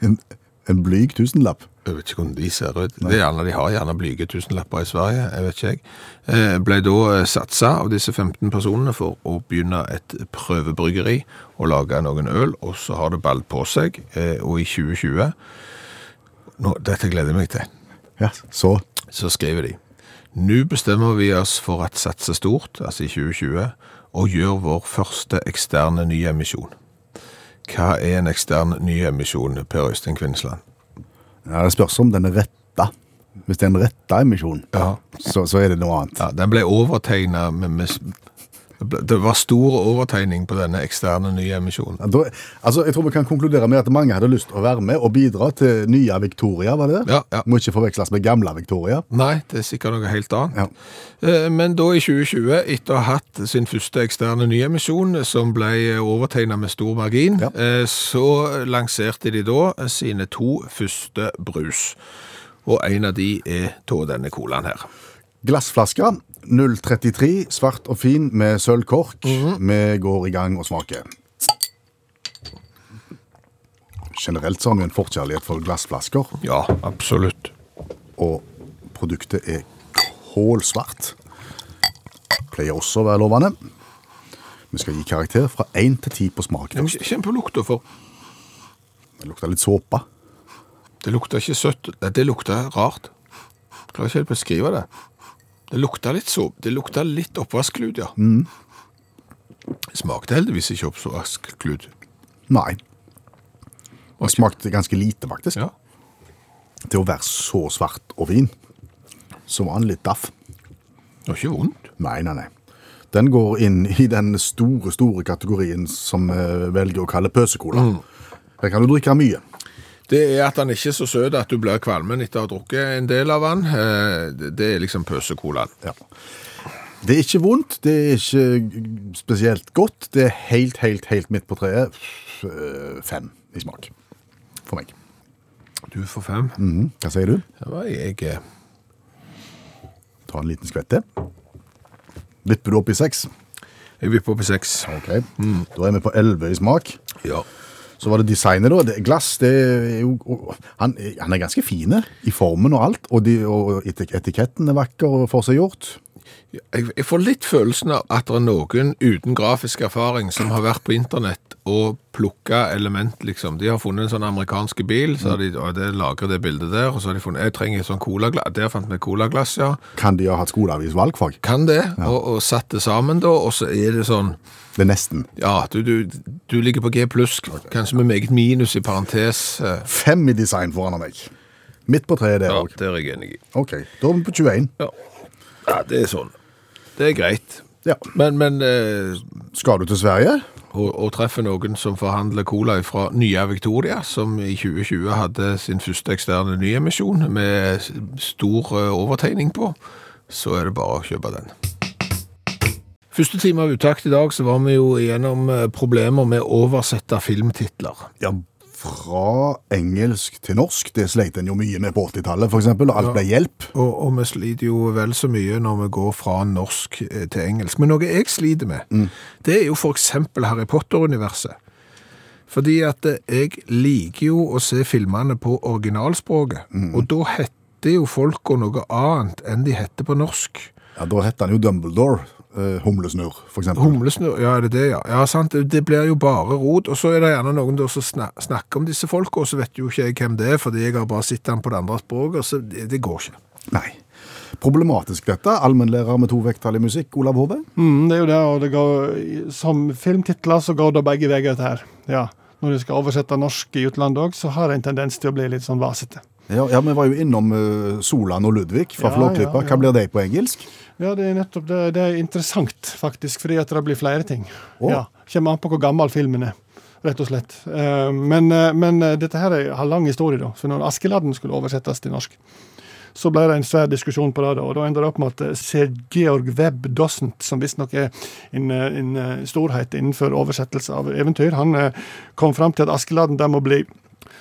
Speaker 3: En, en blyg tusenlapp.
Speaker 2: Jeg vet ikke hvordan de ser ut. Det er gjerne, de har gjerne blyge tusenlapper i Sverige, jeg vet ikke jeg. Eh, Ble da eh, satsa av disse 15 personene for å begynne et prøvebryggeri og lage noen øl, og så har det ball på seg, eh, og i 2020, nå, dette gleder jeg meg til,
Speaker 3: Ja, så
Speaker 2: så skriver de, «Nå bestemmer vi oss for at satse stort, altså i 2020, og gjør vår første eksterne nye emisjon.» Hva er en ekstern ny emisjon, Per Øystein Kvinnsland?
Speaker 3: ja, Det spørs om den er retta. Hvis det er en retta emisjon,
Speaker 2: Ja.
Speaker 3: så, så er det noe annet.
Speaker 2: Ja, den ble overtegnet med, med det ble- Det var stor overtegning på denne eksterne nye emisjonen.
Speaker 3: Da, altså, jeg tror vi kan konkludere med at mange hadde lyst til å være med og bidra til nye Victoria. var det det?
Speaker 2: Ja, ja.
Speaker 3: Må ikke forveksles med gamle Victoria.
Speaker 2: Nei, det er sikkert noe helt annet.
Speaker 3: Ja.
Speaker 2: Eh, Men da i 2020, etter å ha hatt sin første eksterne nyemisjon, som ble overtegnet med stor margin,
Speaker 3: Ja.
Speaker 2: eh, så lanserte de da sine to første brus. Og en av de er da denne colaen her.
Speaker 3: Glassflaske 033, svart og fin med sølvkork.
Speaker 2: Mhm.
Speaker 3: Vi går i gang og smaker. Generelt så har vi en forkjærlighet for glassflasker,
Speaker 2: Ja, absolutt.
Speaker 3: og produktet er kålsvart. Pleier også å være lovende. Vi skal gi karakter fra 1 til 10 på smak.
Speaker 2: Jeg kjenner på lukta for.
Speaker 3: Det lukter litt såpe.
Speaker 2: Det lukter ikke søtt. Nei, Det lukter rart. Klarer ikke helt å beskrive det. Det lukter litt så, det lukter litt oppvasklut, ja. Smakte heldigvis ikke oppvasklut.
Speaker 3: Nei.
Speaker 2: Ok.
Speaker 3: Det smakte ganske lite, faktisk.
Speaker 2: Ja.
Speaker 3: Til å være så svart og fin, så var den litt daff.
Speaker 2: Det var ikke vondt.
Speaker 3: Nei, nei, nei. Den går inn i den store, store kategorien som eh, velger å kalle pøsekola. Her kan du drikke mye.
Speaker 2: Det er at den ikke er så søt at du blir kvalmen etter å ha drukket en del av den. Eh, det- Det er liksom pøsekolaen.
Speaker 3: Ja. Det er ikke vondt, det er ikke spesielt godt. Det er helt, helt, helt midt på treet. F- eh, Fem i smak. For meg.
Speaker 2: Du får fem.
Speaker 3: Mhm. Hva sier du?
Speaker 2: Det var jeg eh,
Speaker 3: Ta en liten skvett til. Vipper du opp i seks?
Speaker 2: Jeg vil på P6.
Speaker 3: Ok, Da er vi på 11 i smak.
Speaker 2: Ja.
Speaker 3: Så var det designet, da. Det, glass det er jo og- han, er- han er ganske fin i formen og alt. Og, de, og etik etiketten er vakker og forseggjort.
Speaker 2: Jeg, jeg får litt følelsen av at det er noen uten grafisk erfaring som har vært på internett og plukka element, liksom. De har funnet en sånn amerikansk bil, så har de og det lagrer det bildet der, og så har de funnet Jeg trenger et sånn colaglass. Der fant vi colaglass, ja.
Speaker 3: Kan de ha hatt skoleavis valgfag?
Speaker 2: Kan det, og, og satt det sammen, da, og så er det sånn
Speaker 3: Det er nesten.
Speaker 2: Ja, du, du, du ligger på G pluss, kanskje med meget minus i parentes. eh,
Speaker 3: Fem i design foran av meg. Midt på treet der
Speaker 2: Ja,
Speaker 3: òg.
Speaker 2: det er jeg enig i.
Speaker 3: Ok, da er vi på 21.
Speaker 2: Ja. ja, det er sånn. Det er greit.
Speaker 3: Ja.
Speaker 2: Men, men eh,
Speaker 3: Skal du til Sverige?
Speaker 2: å, å treffe noen som forhandler cola fra Nya Victoria, som i 2020 hadde sin første eksterne nyemisjon med s- stor eh, overtegning på, så er det bare å kjøpe den. Første time av uttakt i dag så var vi jo igjennom eh, problemer med å oversette filmtitler.
Speaker 3: Ja, fra engelsk til norsk. Det sleit en jo mye med på 80-tallet, f.eks. Og alt ble hjelp.
Speaker 2: Og, og vi sliter jo vel så mye når vi går fra norsk eh, til engelsk. Men noe jeg sliter med, det er jo for eksempel Harry Potter-universet. Fordi at eh, jeg liker jo å se filmene på originalspråket, og da heter jo folk og noe annet enn de heter på norsk.
Speaker 3: Ja, Da het han jo Dumbledore. eh, humlesnurr, f.eks.
Speaker 2: Humlesnurr, ja, er det det, ja. Ja, sant, det- det blir jo bare rot, og så er det gjerne noen der som sna- snakker om disse folka, og så vet jo ikke jeg hvem det er, fordi jeg har bare sett han på det andre språket, så det, det går ikke.
Speaker 3: Nei. Problematisk dette. Allmennlærer med to vekttall i musikk, Olav Hove.
Speaker 5: Mm, det er jo det, og det går, som filmtitler så går det begge veier, dette her. Ja. Når du skal oversette norsk i utlandet òg, så har det en tendens til å bli litt sånn vasete.
Speaker 3: Ja, ja, vi var jo innom eh, Solan og Ludvig fra
Speaker 5: Ja,
Speaker 3: Flåklypa.
Speaker 5: ja, ja.
Speaker 3: Hva blir de på engelsk?
Speaker 5: Ja, det er nettopp det. Det er interessant, faktisk, fordi at det blir flere ting.
Speaker 3: Å.
Speaker 5: Ja, Kommer an på hvor gammel filmen er, rett og slett. Eh, Men, eh, men eh, dette her er- har lang historie, da. For når Askeladden skulle oversettes til norsk, så ble det en svær diskusjon på det, da, og da endte det opp med at eh, Sir Georg Webb Dossent, som visstnok er en, eh, en eh, storhet innenfor oversettelse av eventyr, han eh, kom fram til at Askeladden der må bli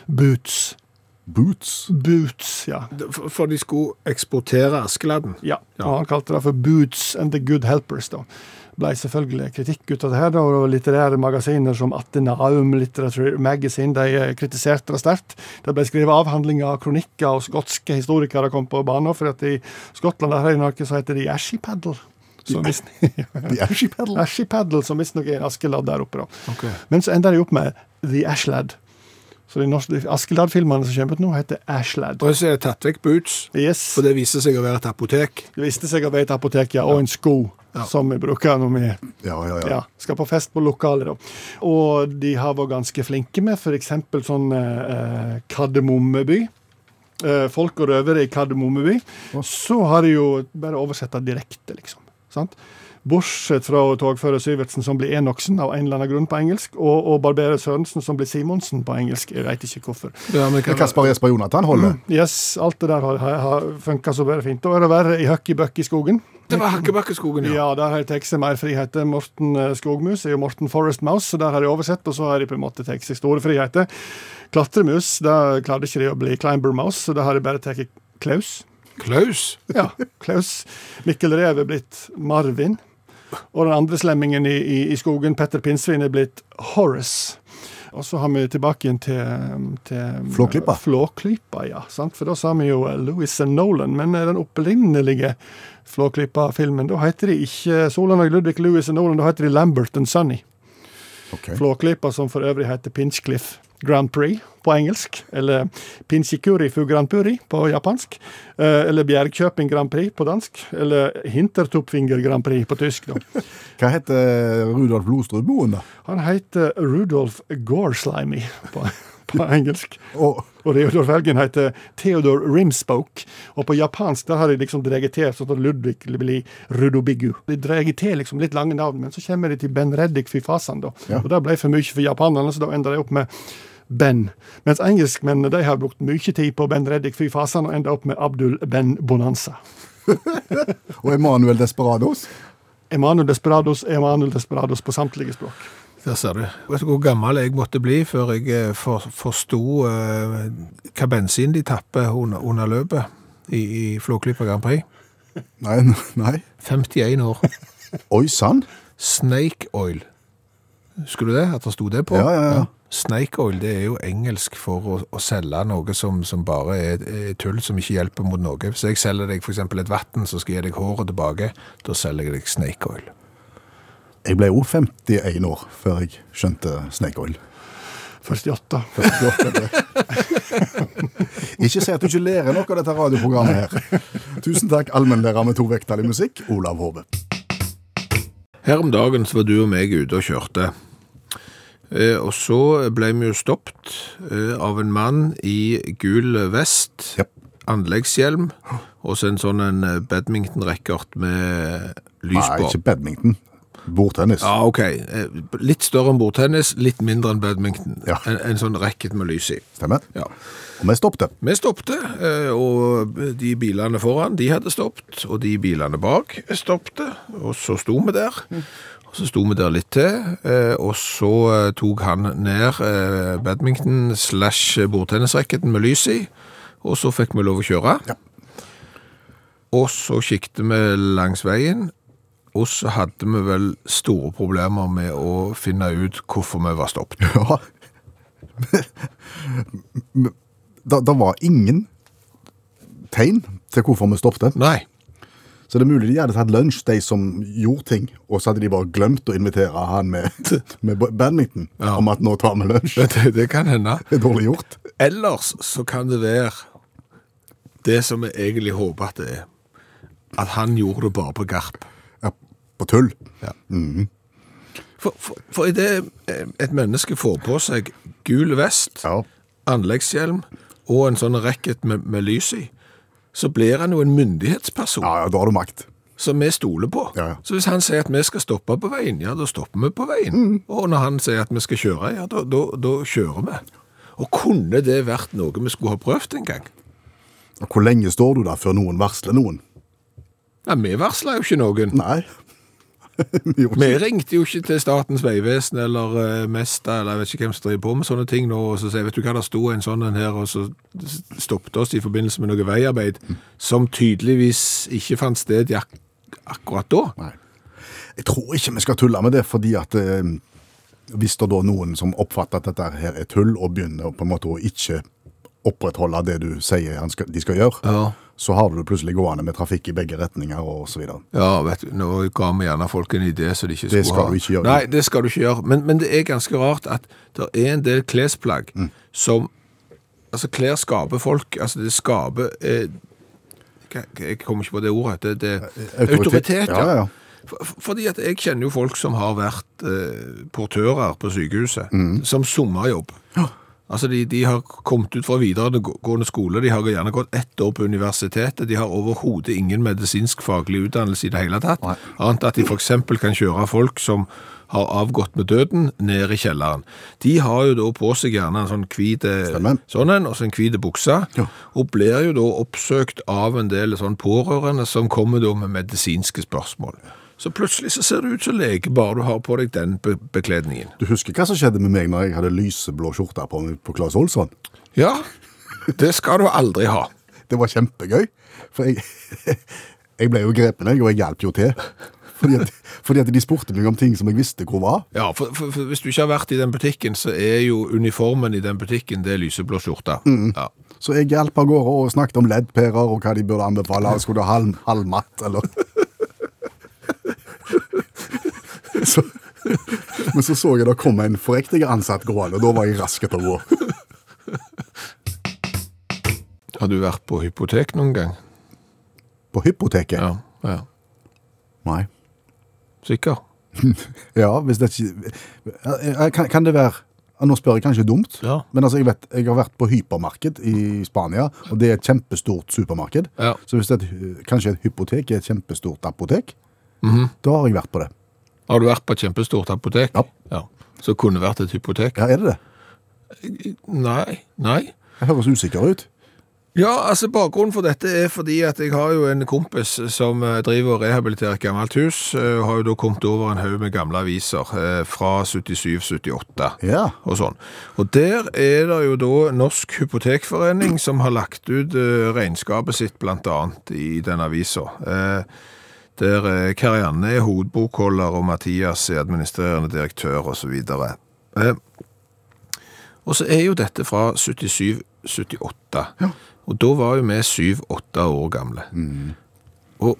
Speaker 5: Boots.
Speaker 3: Boots.
Speaker 5: Boots, ja.
Speaker 2: For, for de skulle eksportere Askeladden.
Speaker 5: Ja, og han kalte det for Boots and the Good Helpers. da. Blei selvfølgelig kritikk ut av det her, da, og litterære magasiner som Atenaum Literature Magazine de eh, kritiserte det sterkt. Det ble skrevet avhandlinger, kronikker, og skotske historikere kom på banen. For at i Skottland der har de noe som heter The Ashy Paddle. Som visst-
Speaker 3: The Ashy Pedal.
Speaker 5: Ashy Paddle, som visstnok er en askeladd der oppe. da. Men så ender de opp med The Ashlad. Så de, norske- de Askeladd-filmene som kommer ut nå, heter Ashlad.
Speaker 2: Og så er det tatt vekk Boots,
Speaker 5: Yes.
Speaker 2: for det viser seg å være et apotek.
Speaker 5: Det viste seg å være et apotek, ja, og en sko, som vi bruker når vi
Speaker 3: Ja, ja, ja.
Speaker 5: ja, skal på fest på lokalet. Da. Og de har vært ganske flinke med f.eks. sånn eh, Kardemommeby. Eh, folk og røvere i Kardemommeby. Så har de jo bare oversett det direkte, liksom. Sant? Bortsett fra togfører Syvertsen, som blir Enoksen av en eller annen grunn på engelsk, og, og barberer Sørensen, som blir Simonsen på engelsk. Jeg veit ikke hvorfor.
Speaker 2: Ja, men
Speaker 3: Men Kaspar Jesper Jonathan
Speaker 5: Mm.
Speaker 3: holder.
Speaker 5: Yes, alt det der har, har- har funka så bare fint. Da er det verre i Høkkibøkk i skogen.
Speaker 2: Det var Hakkebakkeskogen, ja.
Speaker 5: Ja, der har de tatt seg mer friheter. Morten eh, Skogmus er jo Morten Forest Mouse, så der har de oversett, og så har de på en måte tatt seg store friheter. Klatremus, der klarte ikke de å bli Climber Mouse, så der har de bare tatt Klaus.
Speaker 2: Klaus.
Speaker 5: Ja, Klaus. Mikkel Rev er blitt Marvin. Og den andre slemmingen i, i, i skogen, Petter Pinnsvin, er blitt Horace. Og så har vi tilbake igjen til, til um,
Speaker 3: Flåklypa.
Speaker 5: Flåklypa, ja. Sant? For da sa vi jo eh, Lewis and Nolan, men eh, den opprinnelige Flåklypa-filmen, da heter de ikke Solan og Ludvig Lewis and Nolan, da heter de Lambert and Sunny.
Speaker 3: Ok.
Speaker 5: Flåklypa, som for øvrig heter Pinchcliff Grand Prix på engelsk, eller Pinchikuri fu Grand Prix på japansk, eh, eller Bjergkjøping Grand Prix på dansk, eller Hintertupfinger Grand Prix på tysk. Da.
Speaker 3: Hva heter eh, Rudolf Blodstrudmoen, da?
Speaker 5: Han heter Rudolf Gorslimy på, på engelsk.
Speaker 3: Og
Speaker 5: Og Reodor Felgen heter Theodor Rimspoke. Og på japansk der har de liksom dreget til sånn at Ludvig blir Rudobigu. De dreger til liksom litt lange navn, men så kommer de til Ben Reddik Fyfasan, da.
Speaker 3: Ja.
Speaker 5: Og det ble for mye for japanerne, så da ender de opp med Ben. Mens engelskmennene de har brukt mye tid på Ben Reddik Fyfasan og ender opp med Abdul Ben Bonanza.
Speaker 3: og Emanuel Desperados.
Speaker 5: Emanuel Desperados Emanuel Desperados på samtlige språk.
Speaker 2: Der ser du. Vet du hvor gammel jeg måtte bli før jeg eh, for, forsto eh, hva bensin de tapper under, under løpet i, i Flåklypa Grand Prix?
Speaker 3: Nei, nei.
Speaker 2: 51 år.
Speaker 3: Oi sann!
Speaker 2: Snake oil. Husker du det? At det sto det på?
Speaker 3: Ja, ja, ja.
Speaker 2: Snake oil det er jo engelsk for å, å selge noe som, som bare er, er tull, som ikke hjelper mot noe. Hvis jeg selger deg f.eks. et vann, så skal jeg gi deg håret tilbake. Da selger jeg deg snake oil.
Speaker 3: Jeg ble jo 51 år før jeg skjønte snake oil.
Speaker 5: 48.
Speaker 3: Ikke si at du ikke lærer noe av dette radioprogrammet her. Tusen takk, allmennlærer med to vekttall i musikk, Olav Hove.
Speaker 2: Her om dagen så var du og meg ute og kjørte. Eh, og så ble vi jo stoppet eh, av en mann i gul vest,
Speaker 3: Japp.
Speaker 2: anleggshjelm, og så en sånn en eh, badminton-racket med lys
Speaker 3: Nei,
Speaker 2: på.
Speaker 3: ikke badminton. Bordtennis.
Speaker 2: Ja, ok. Eh, Litt større enn bordtennis, litt mindre enn badminton.
Speaker 3: Ja.
Speaker 2: En, en sånn racket med lys i.
Speaker 3: Stemmer.
Speaker 2: Ja.
Speaker 3: Og vi stoppte.
Speaker 2: Vi stoppte, eh, og de bilene foran, de hadde stoppet, og de bilene bak stoppte, og så sto vi der. Og så sto vi der litt til, eh, og så eh, tok han ned eh, badminton slash bordtennisracketen med lys i, og så fikk vi lov å kjøre.
Speaker 3: Ja.
Speaker 2: Og så kikket vi langs veien, og så hadde vi vel store problemer med å finne ut hvorfor vi var stoppet.
Speaker 3: Ja. Da, da var ingen tegn til hvorfor vi stoppet.
Speaker 2: Nei.
Speaker 3: Så det er mulig de hadde tatt lunsj, de som gjorde ting, og så hadde de bare glemt å invitere han med, med badminton
Speaker 2: Ja.
Speaker 3: om at nå tar vi lunsj.
Speaker 2: Det, det kan hende.
Speaker 3: Det er dårlig gjort.
Speaker 2: Ellers så kan det være det som jeg egentlig håper at det er. At han gjorde det bare på garp.
Speaker 3: Ja, på tull.
Speaker 2: For, for, for idet et menneske får på seg gul vest,
Speaker 3: Ja.
Speaker 2: anleggshjelm og en sånn racket med, med lys i, så blir han jo en myndighetsperson
Speaker 3: Ja, ja, da har du makt.
Speaker 2: som vi stoler på.
Speaker 3: Ja, ja.
Speaker 2: Så hvis han sier at vi skal stoppe på veien, ja, da stopper vi på veien.
Speaker 3: Mm.
Speaker 2: Og når han sier at vi skal kjøre, ja, da, da, da kjører vi. Og kunne det vært noe vi skulle ha prøvd en gang?
Speaker 3: Og hvor lenge står du der før noen varsler noen?
Speaker 2: Nei, vi varsla jo ikke noen.
Speaker 3: Nei. Vi gjorde
Speaker 2: Vi
Speaker 3: ikke-
Speaker 2: ringte jo ikke til Statens vegvesen eller eh, Mesta eller jeg vet ikke hvem som driver på med sånne ting nå, og så sier vet du hva, det sto en sånn en her, og så stoppet oss i forbindelse med noe veiarbeid, som tydeligvis ikke fant sted i ak akkurat da.
Speaker 3: Nei. Jeg tror ikke vi skal tulle med det, fordi at eh, hvis det da er noen som oppfatter at dette her er tull, og begynner på en måte å ikke opprettholde det du sier han skal, de skal gjøre,
Speaker 2: Ja.
Speaker 3: så har du det plutselig gående med trafikk i begge retninger og så videre.
Speaker 2: Ja, vet du, nå ga vi gjerne folk en idé som de ikke skulle
Speaker 3: Det skal
Speaker 2: ha.
Speaker 3: du ikke gjøre.
Speaker 2: Nei, det skal du ikke gjøre. Men, men det er ganske rart at det er en del klesplagg som Altså, klær skaper folk. Altså, det skaper eh, hva- hva- Jeg kommer ikke på det ordet. Det, det, autoritet,
Speaker 3: ja. ja, ja.
Speaker 2: For- for- Fordi at jeg kjenner jo folk som har vært eh, portører på sykehuset, som sommerjobb. Altså, de, de har kommet ut fra videregående skole, de har gjerne gått ett år på universitetet, de har overhodet ingen medisinsk faglig utdannelse i det hele tatt, annet at de for eksempel kan kjøre folk som har avgått med døden, ned i kjelleren. De har jo da på seg gjerne en sånn hvite
Speaker 3: Stemmer.
Speaker 2: sånn en, og så en hvite bukse,
Speaker 3: Ja.
Speaker 2: og blir jo da oppsøkt av en del sånn pårørende som kommer da med medisinske spørsmål. Så plutselig så ser du ut som lege bare du har på deg den be bekledningen.
Speaker 3: Du husker hva som skjedde med meg når jeg hadde lyseblå skjorte på meg på Claes Olsson?
Speaker 2: Ja, det skal du aldri ha.
Speaker 3: Det var kjempegøy, for jeg, jeg ble jo grepen, jeg, og jeg hjalp jo til. Fordi at, fordi at de spurte meg om ting som jeg visste hvor var.
Speaker 2: Ja, for, for, for hvis du ikke har vært i den butikken, så er jo uniformen i den butikken det er lyseblå skjorta.
Speaker 3: Mm.
Speaker 2: Ja.
Speaker 3: Så jeg hjalp av gårde og snakket om leddpærer og hva de burde anbefale. Skulle du ha halm, halmmatt, eller så, Men så så jeg det kom en forriktig ansatt gående, og da var jeg rask etter å gå.
Speaker 2: Har du vært på hypotek noen gang?
Speaker 3: På hypoteket?
Speaker 2: Ja. ja.
Speaker 3: Nei.
Speaker 2: Sikker?
Speaker 3: Ja, hvis det ikke Ja, Kan, kan det være ja, Nå spør jeg kanskje dumt,
Speaker 2: Ja.
Speaker 3: men altså, jeg vet, jeg har vært på hypermarked i Spania, og det er et kjempestort supermarked.
Speaker 2: Ja.
Speaker 3: Så hvis det er et, kanskje et hypotek er et kjempestort apotek,
Speaker 2: Mhm.
Speaker 3: da har jeg vært på det.
Speaker 2: Har du vært på et kjempestort apotek?
Speaker 3: Ja.
Speaker 2: Så kunne vært et hypotek?
Speaker 3: Ja, er det det?
Speaker 2: Nei, nei.
Speaker 3: Jeg høres usikker ut.
Speaker 2: Ja, altså bakgrunnen for dette er fordi at jeg har jo en kompis som eh, driver og rehabiliterer et gammelt hus, eh, og har jo da kommet over en haug med gamle aviser eh, fra 77-78
Speaker 3: Ja.
Speaker 2: og sånn. Og der er det jo da Norsk Hypotekforening som har lagt ut eh, regnskapet sitt blant annet i den avisa. Eh, Der eh, Karianne er hovedbokholder, og Mathias er administrerende direktør, osv. Og, Eh, og så er jo dette fra 77-78, og da var jo vi syv-åtte år gamle. Og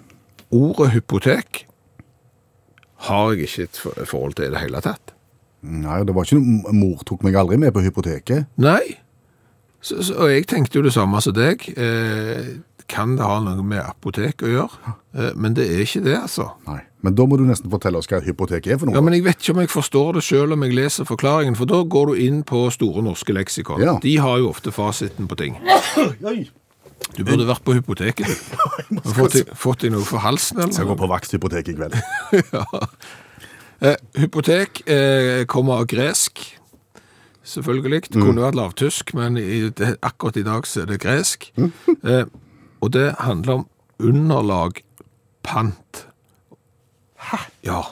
Speaker 2: ordet hypotek har jeg ikke et for- forhold til i det hele tatt.
Speaker 3: Nei, det var ikke noe Mor tok meg aldri med på hypoteket.
Speaker 2: Nei. Så, så, og jeg tenkte jo det samme som deg. Eh, kan det ha noe med apotek å gjøre? Eh, men det er ikke det, altså.
Speaker 3: Nei. Men da må du nesten fortelle oss hva et hypotek er for noe.
Speaker 2: Ja, men Jeg vet ikke om jeg forstår det sjøl om jeg leser forklaringen, for da går du inn på Store norske leksikon.
Speaker 3: Ja.
Speaker 2: De har jo ofte fasiten på ting.
Speaker 3: Oi.
Speaker 2: Du burde vært på hypoteket. du. Og Fått deg- fått deg noe for halsen, eller?
Speaker 3: Skal gå på vakthypotek i kveld.
Speaker 2: Eh, hypotek eh, kommer av gresk, selvfølgelig. Det kunne vært lavtysk, men i, det, akkurat i dag så er det gresk. eh, og det handler om underlag, pant. Hæ? Ja.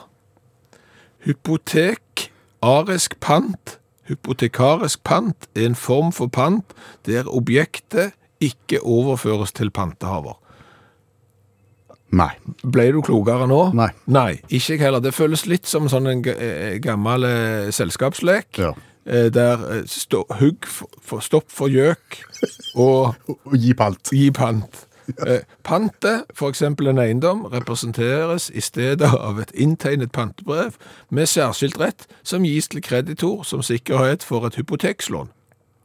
Speaker 2: Hypotek, arisk pant, hypotekarisk pant er en form for pant der objektet ikke overføres til pantehaver.
Speaker 3: Nei.
Speaker 2: Ble du klokere nå?
Speaker 3: Nei.
Speaker 2: ikke jeg heller. Det føles litt som sånn en g- eh, gammel eh, selskapslek,
Speaker 3: Ja.
Speaker 2: eh, der eh, stå, hugg for, for stopp for gjøk og
Speaker 3: Å å gi pant.
Speaker 2: gi pant. Eh, Pantet, for eksempel en eiendom, representeres i stedet av et inntegnet pantebrev med særskilt rett som gis til kreditor som sikkerhet for et hypotekslån.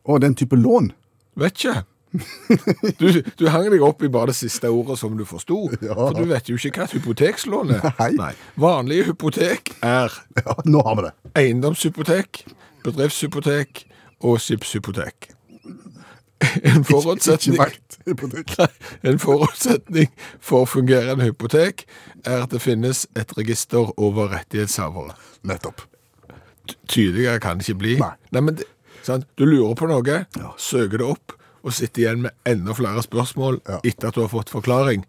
Speaker 3: Å, den type lån.
Speaker 2: Vet ikke. Du, du hang deg opp i bare det siste ordet som du forsto, for du vet jo ikke hva et hypotekslån er.
Speaker 3: Nei.
Speaker 2: Vanlige hypotek er
Speaker 3: Ja, nå har vi det.
Speaker 2: eiendomshypotek, bedriftshypotek og skipshypotek. En
Speaker 3: Ikke
Speaker 2: forutsetning,
Speaker 3: vakthypotek.
Speaker 2: Nei, en forutsetning for fungerende hypotek er at det finnes et register over rettighetshavere.
Speaker 3: Nettopp.
Speaker 2: Tydeligere kan det ikke bli.
Speaker 3: Nei.
Speaker 2: men det, sant? Du lurer på noe, søker det opp, og sitter igjen med enda flere spørsmål
Speaker 3: Ja.
Speaker 2: etter at du har fått forklaring.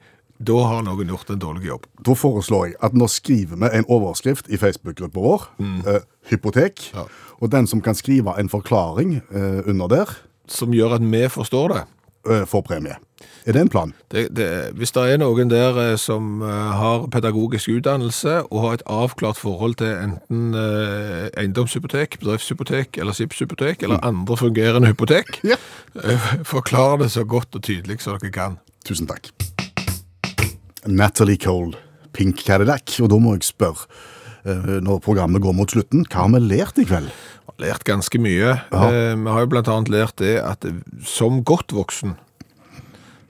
Speaker 2: Da har noen gjort en dårlig jobb.
Speaker 3: Da foreslår jeg at nå skriver vi en overskrift i Facebook-gruppa vår, eh, hypotek,
Speaker 2: Ja.
Speaker 3: og den som kan skrive en forklaring eh, under der,
Speaker 2: Som gjør at vi forstår det.
Speaker 3: eh, får premie. Er det en plan?
Speaker 2: Det, det, hvis det er noen der eh, som eh, har pedagogisk utdannelse og har et avklart forhold til enten eh, eiendomshypotek, bedriftshypotek eller skipshypotek eller andre fungerende hypotek,
Speaker 3: Ja.
Speaker 2: eh, forklar det så godt og tydelig som dere kan.
Speaker 3: Tusen takk. Natalie Cole, Pink Cadillac, og da må jeg spørre, eh, når programmet går mot slutten, hva har vi lært i kveld?
Speaker 2: Vi har lært ganske mye. Eh, vi har jo blant annet lært det at eh, som godt voksen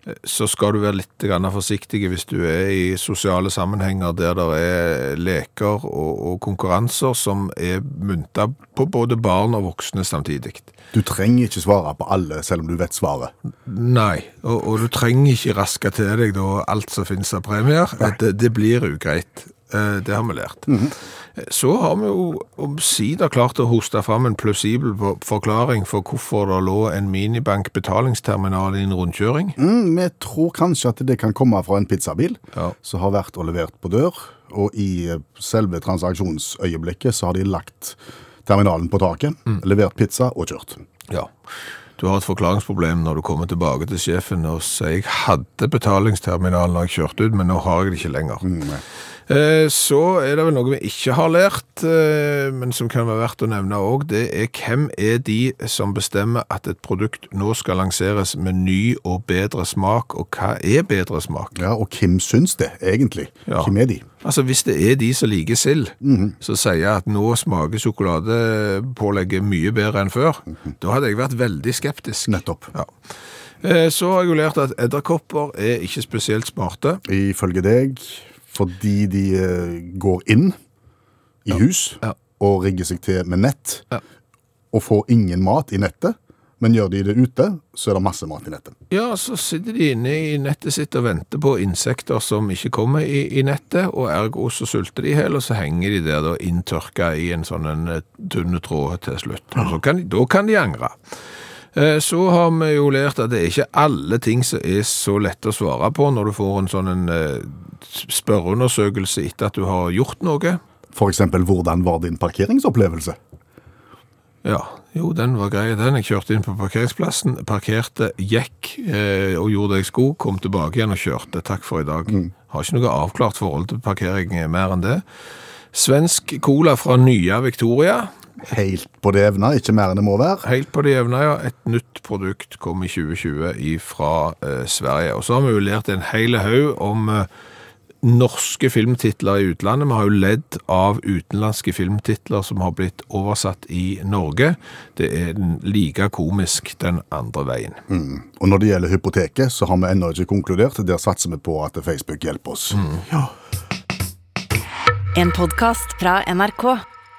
Speaker 2: eh, så skal du være litt grann forsiktig hvis du er i sosiale sammenhenger der det er leker og, og konkurranser som er mynta på både barn og voksne samtidig.
Speaker 3: Du trenger ikke svare på alle, selv om du vet svaret.
Speaker 2: Nei, og, og du trenger ikke raske til deg da alt som finnes av premier. Det, det blir ugreit. Eh, Det har vi lært. Eh, Så har vi jo omsider klart å hoste fram en plausibel for- forklaring for hvorfor det lå en minibank betalingsterminal i en rundkjøring.
Speaker 3: Mm, vi tror kanskje at det kan komme fra en pizzabil
Speaker 2: Ja.
Speaker 3: som har vært og levert på dør, og i eh, selve transaksjonsøyeblikket så har de lagt terminalen på taket,
Speaker 2: Mm.
Speaker 3: levert pizza og kjørt.
Speaker 2: Ja. Du har et forklaringsproblem når du kommer tilbake til sjefen og sier jeg hadde betalingsterminalen da jeg kjørte ut, men nå har jeg det ikke lenger. Eh, Så er det vel noe vi ikke har lært, eh, men som kan være verdt å nevne òg. Det er hvem er de som bestemmer at et produkt nå skal lanseres med ny og bedre smak, og hva er bedre smak?
Speaker 3: Ja, og hvem syns det egentlig?
Speaker 2: Ja.
Speaker 3: Hvem er de?
Speaker 2: Altså Hvis det er de som liker sild, som sier at nå smaker sjokoladepålegget mye bedre enn før, da hadde jeg vært veldig skeptisk.
Speaker 3: Nettopp.
Speaker 2: Ja. Eh, Så har jeg jo lært at edderkopper er ikke spesielt smarte.
Speaker 3: Ifølge deg, fordi de eh, går inn i hus
Speaker 2: Ja.
Speaker 3: og rigger seg til med nett,
Speaker 2: Ja.
Speaker 3: og får ingen mat i nettet, men gjør de det ute, så er det masse mat i nettet.
Speaker 2: Ja, så sitter de inne i nettet sitt og venter på insekter som ikke kommer i, i nettet, og ergo så sulter de i hjel, og så henger de der da inntørka i en sånn en eh, tynne tråd til slutt. Og så kan, de- da kan de angre. Eh, Så har vi jo lært at det er ikke alle ting som er så lett å svare på når du får en sånn en eh, spørreundersøkelse etter at du har gjort noe.
Speaker 3: For eksempel, hvordan var din parkeringsopplevelse?
Speaker 2: Ja, Jo, den var grei, den. Jeg kjørte inn på parkeringsplassen, parkerte, gikk eh, og gjorde det jeg skulle, kom tilbake igjen og kjørte. Takk for i dag. Har ikke noe avklart forhold til parkering eh, mer enn det. Svensk cola fra Nya Victoria.
Speaker 3: Helt på det jevne, ikke mer enn det må være.
Speaker 2: Helt på det jevne, ja. Et nytt produkt kom i 2020 fra eh, Sverige. Og så har vi jo lært en hel haug om eh, norske filmtitler i utlandet. Vi har jo ledd av utenlandske filmtitler som har blitt oversatt i Norge. Det er den like komisk den andre veien.
Speaker 3: Og når det gjelder hypoteket, så har vi ennå ikke konkludert. Der satser vi på at Facebook hjelper oss.
Speaker 1: En podkast fra NRK.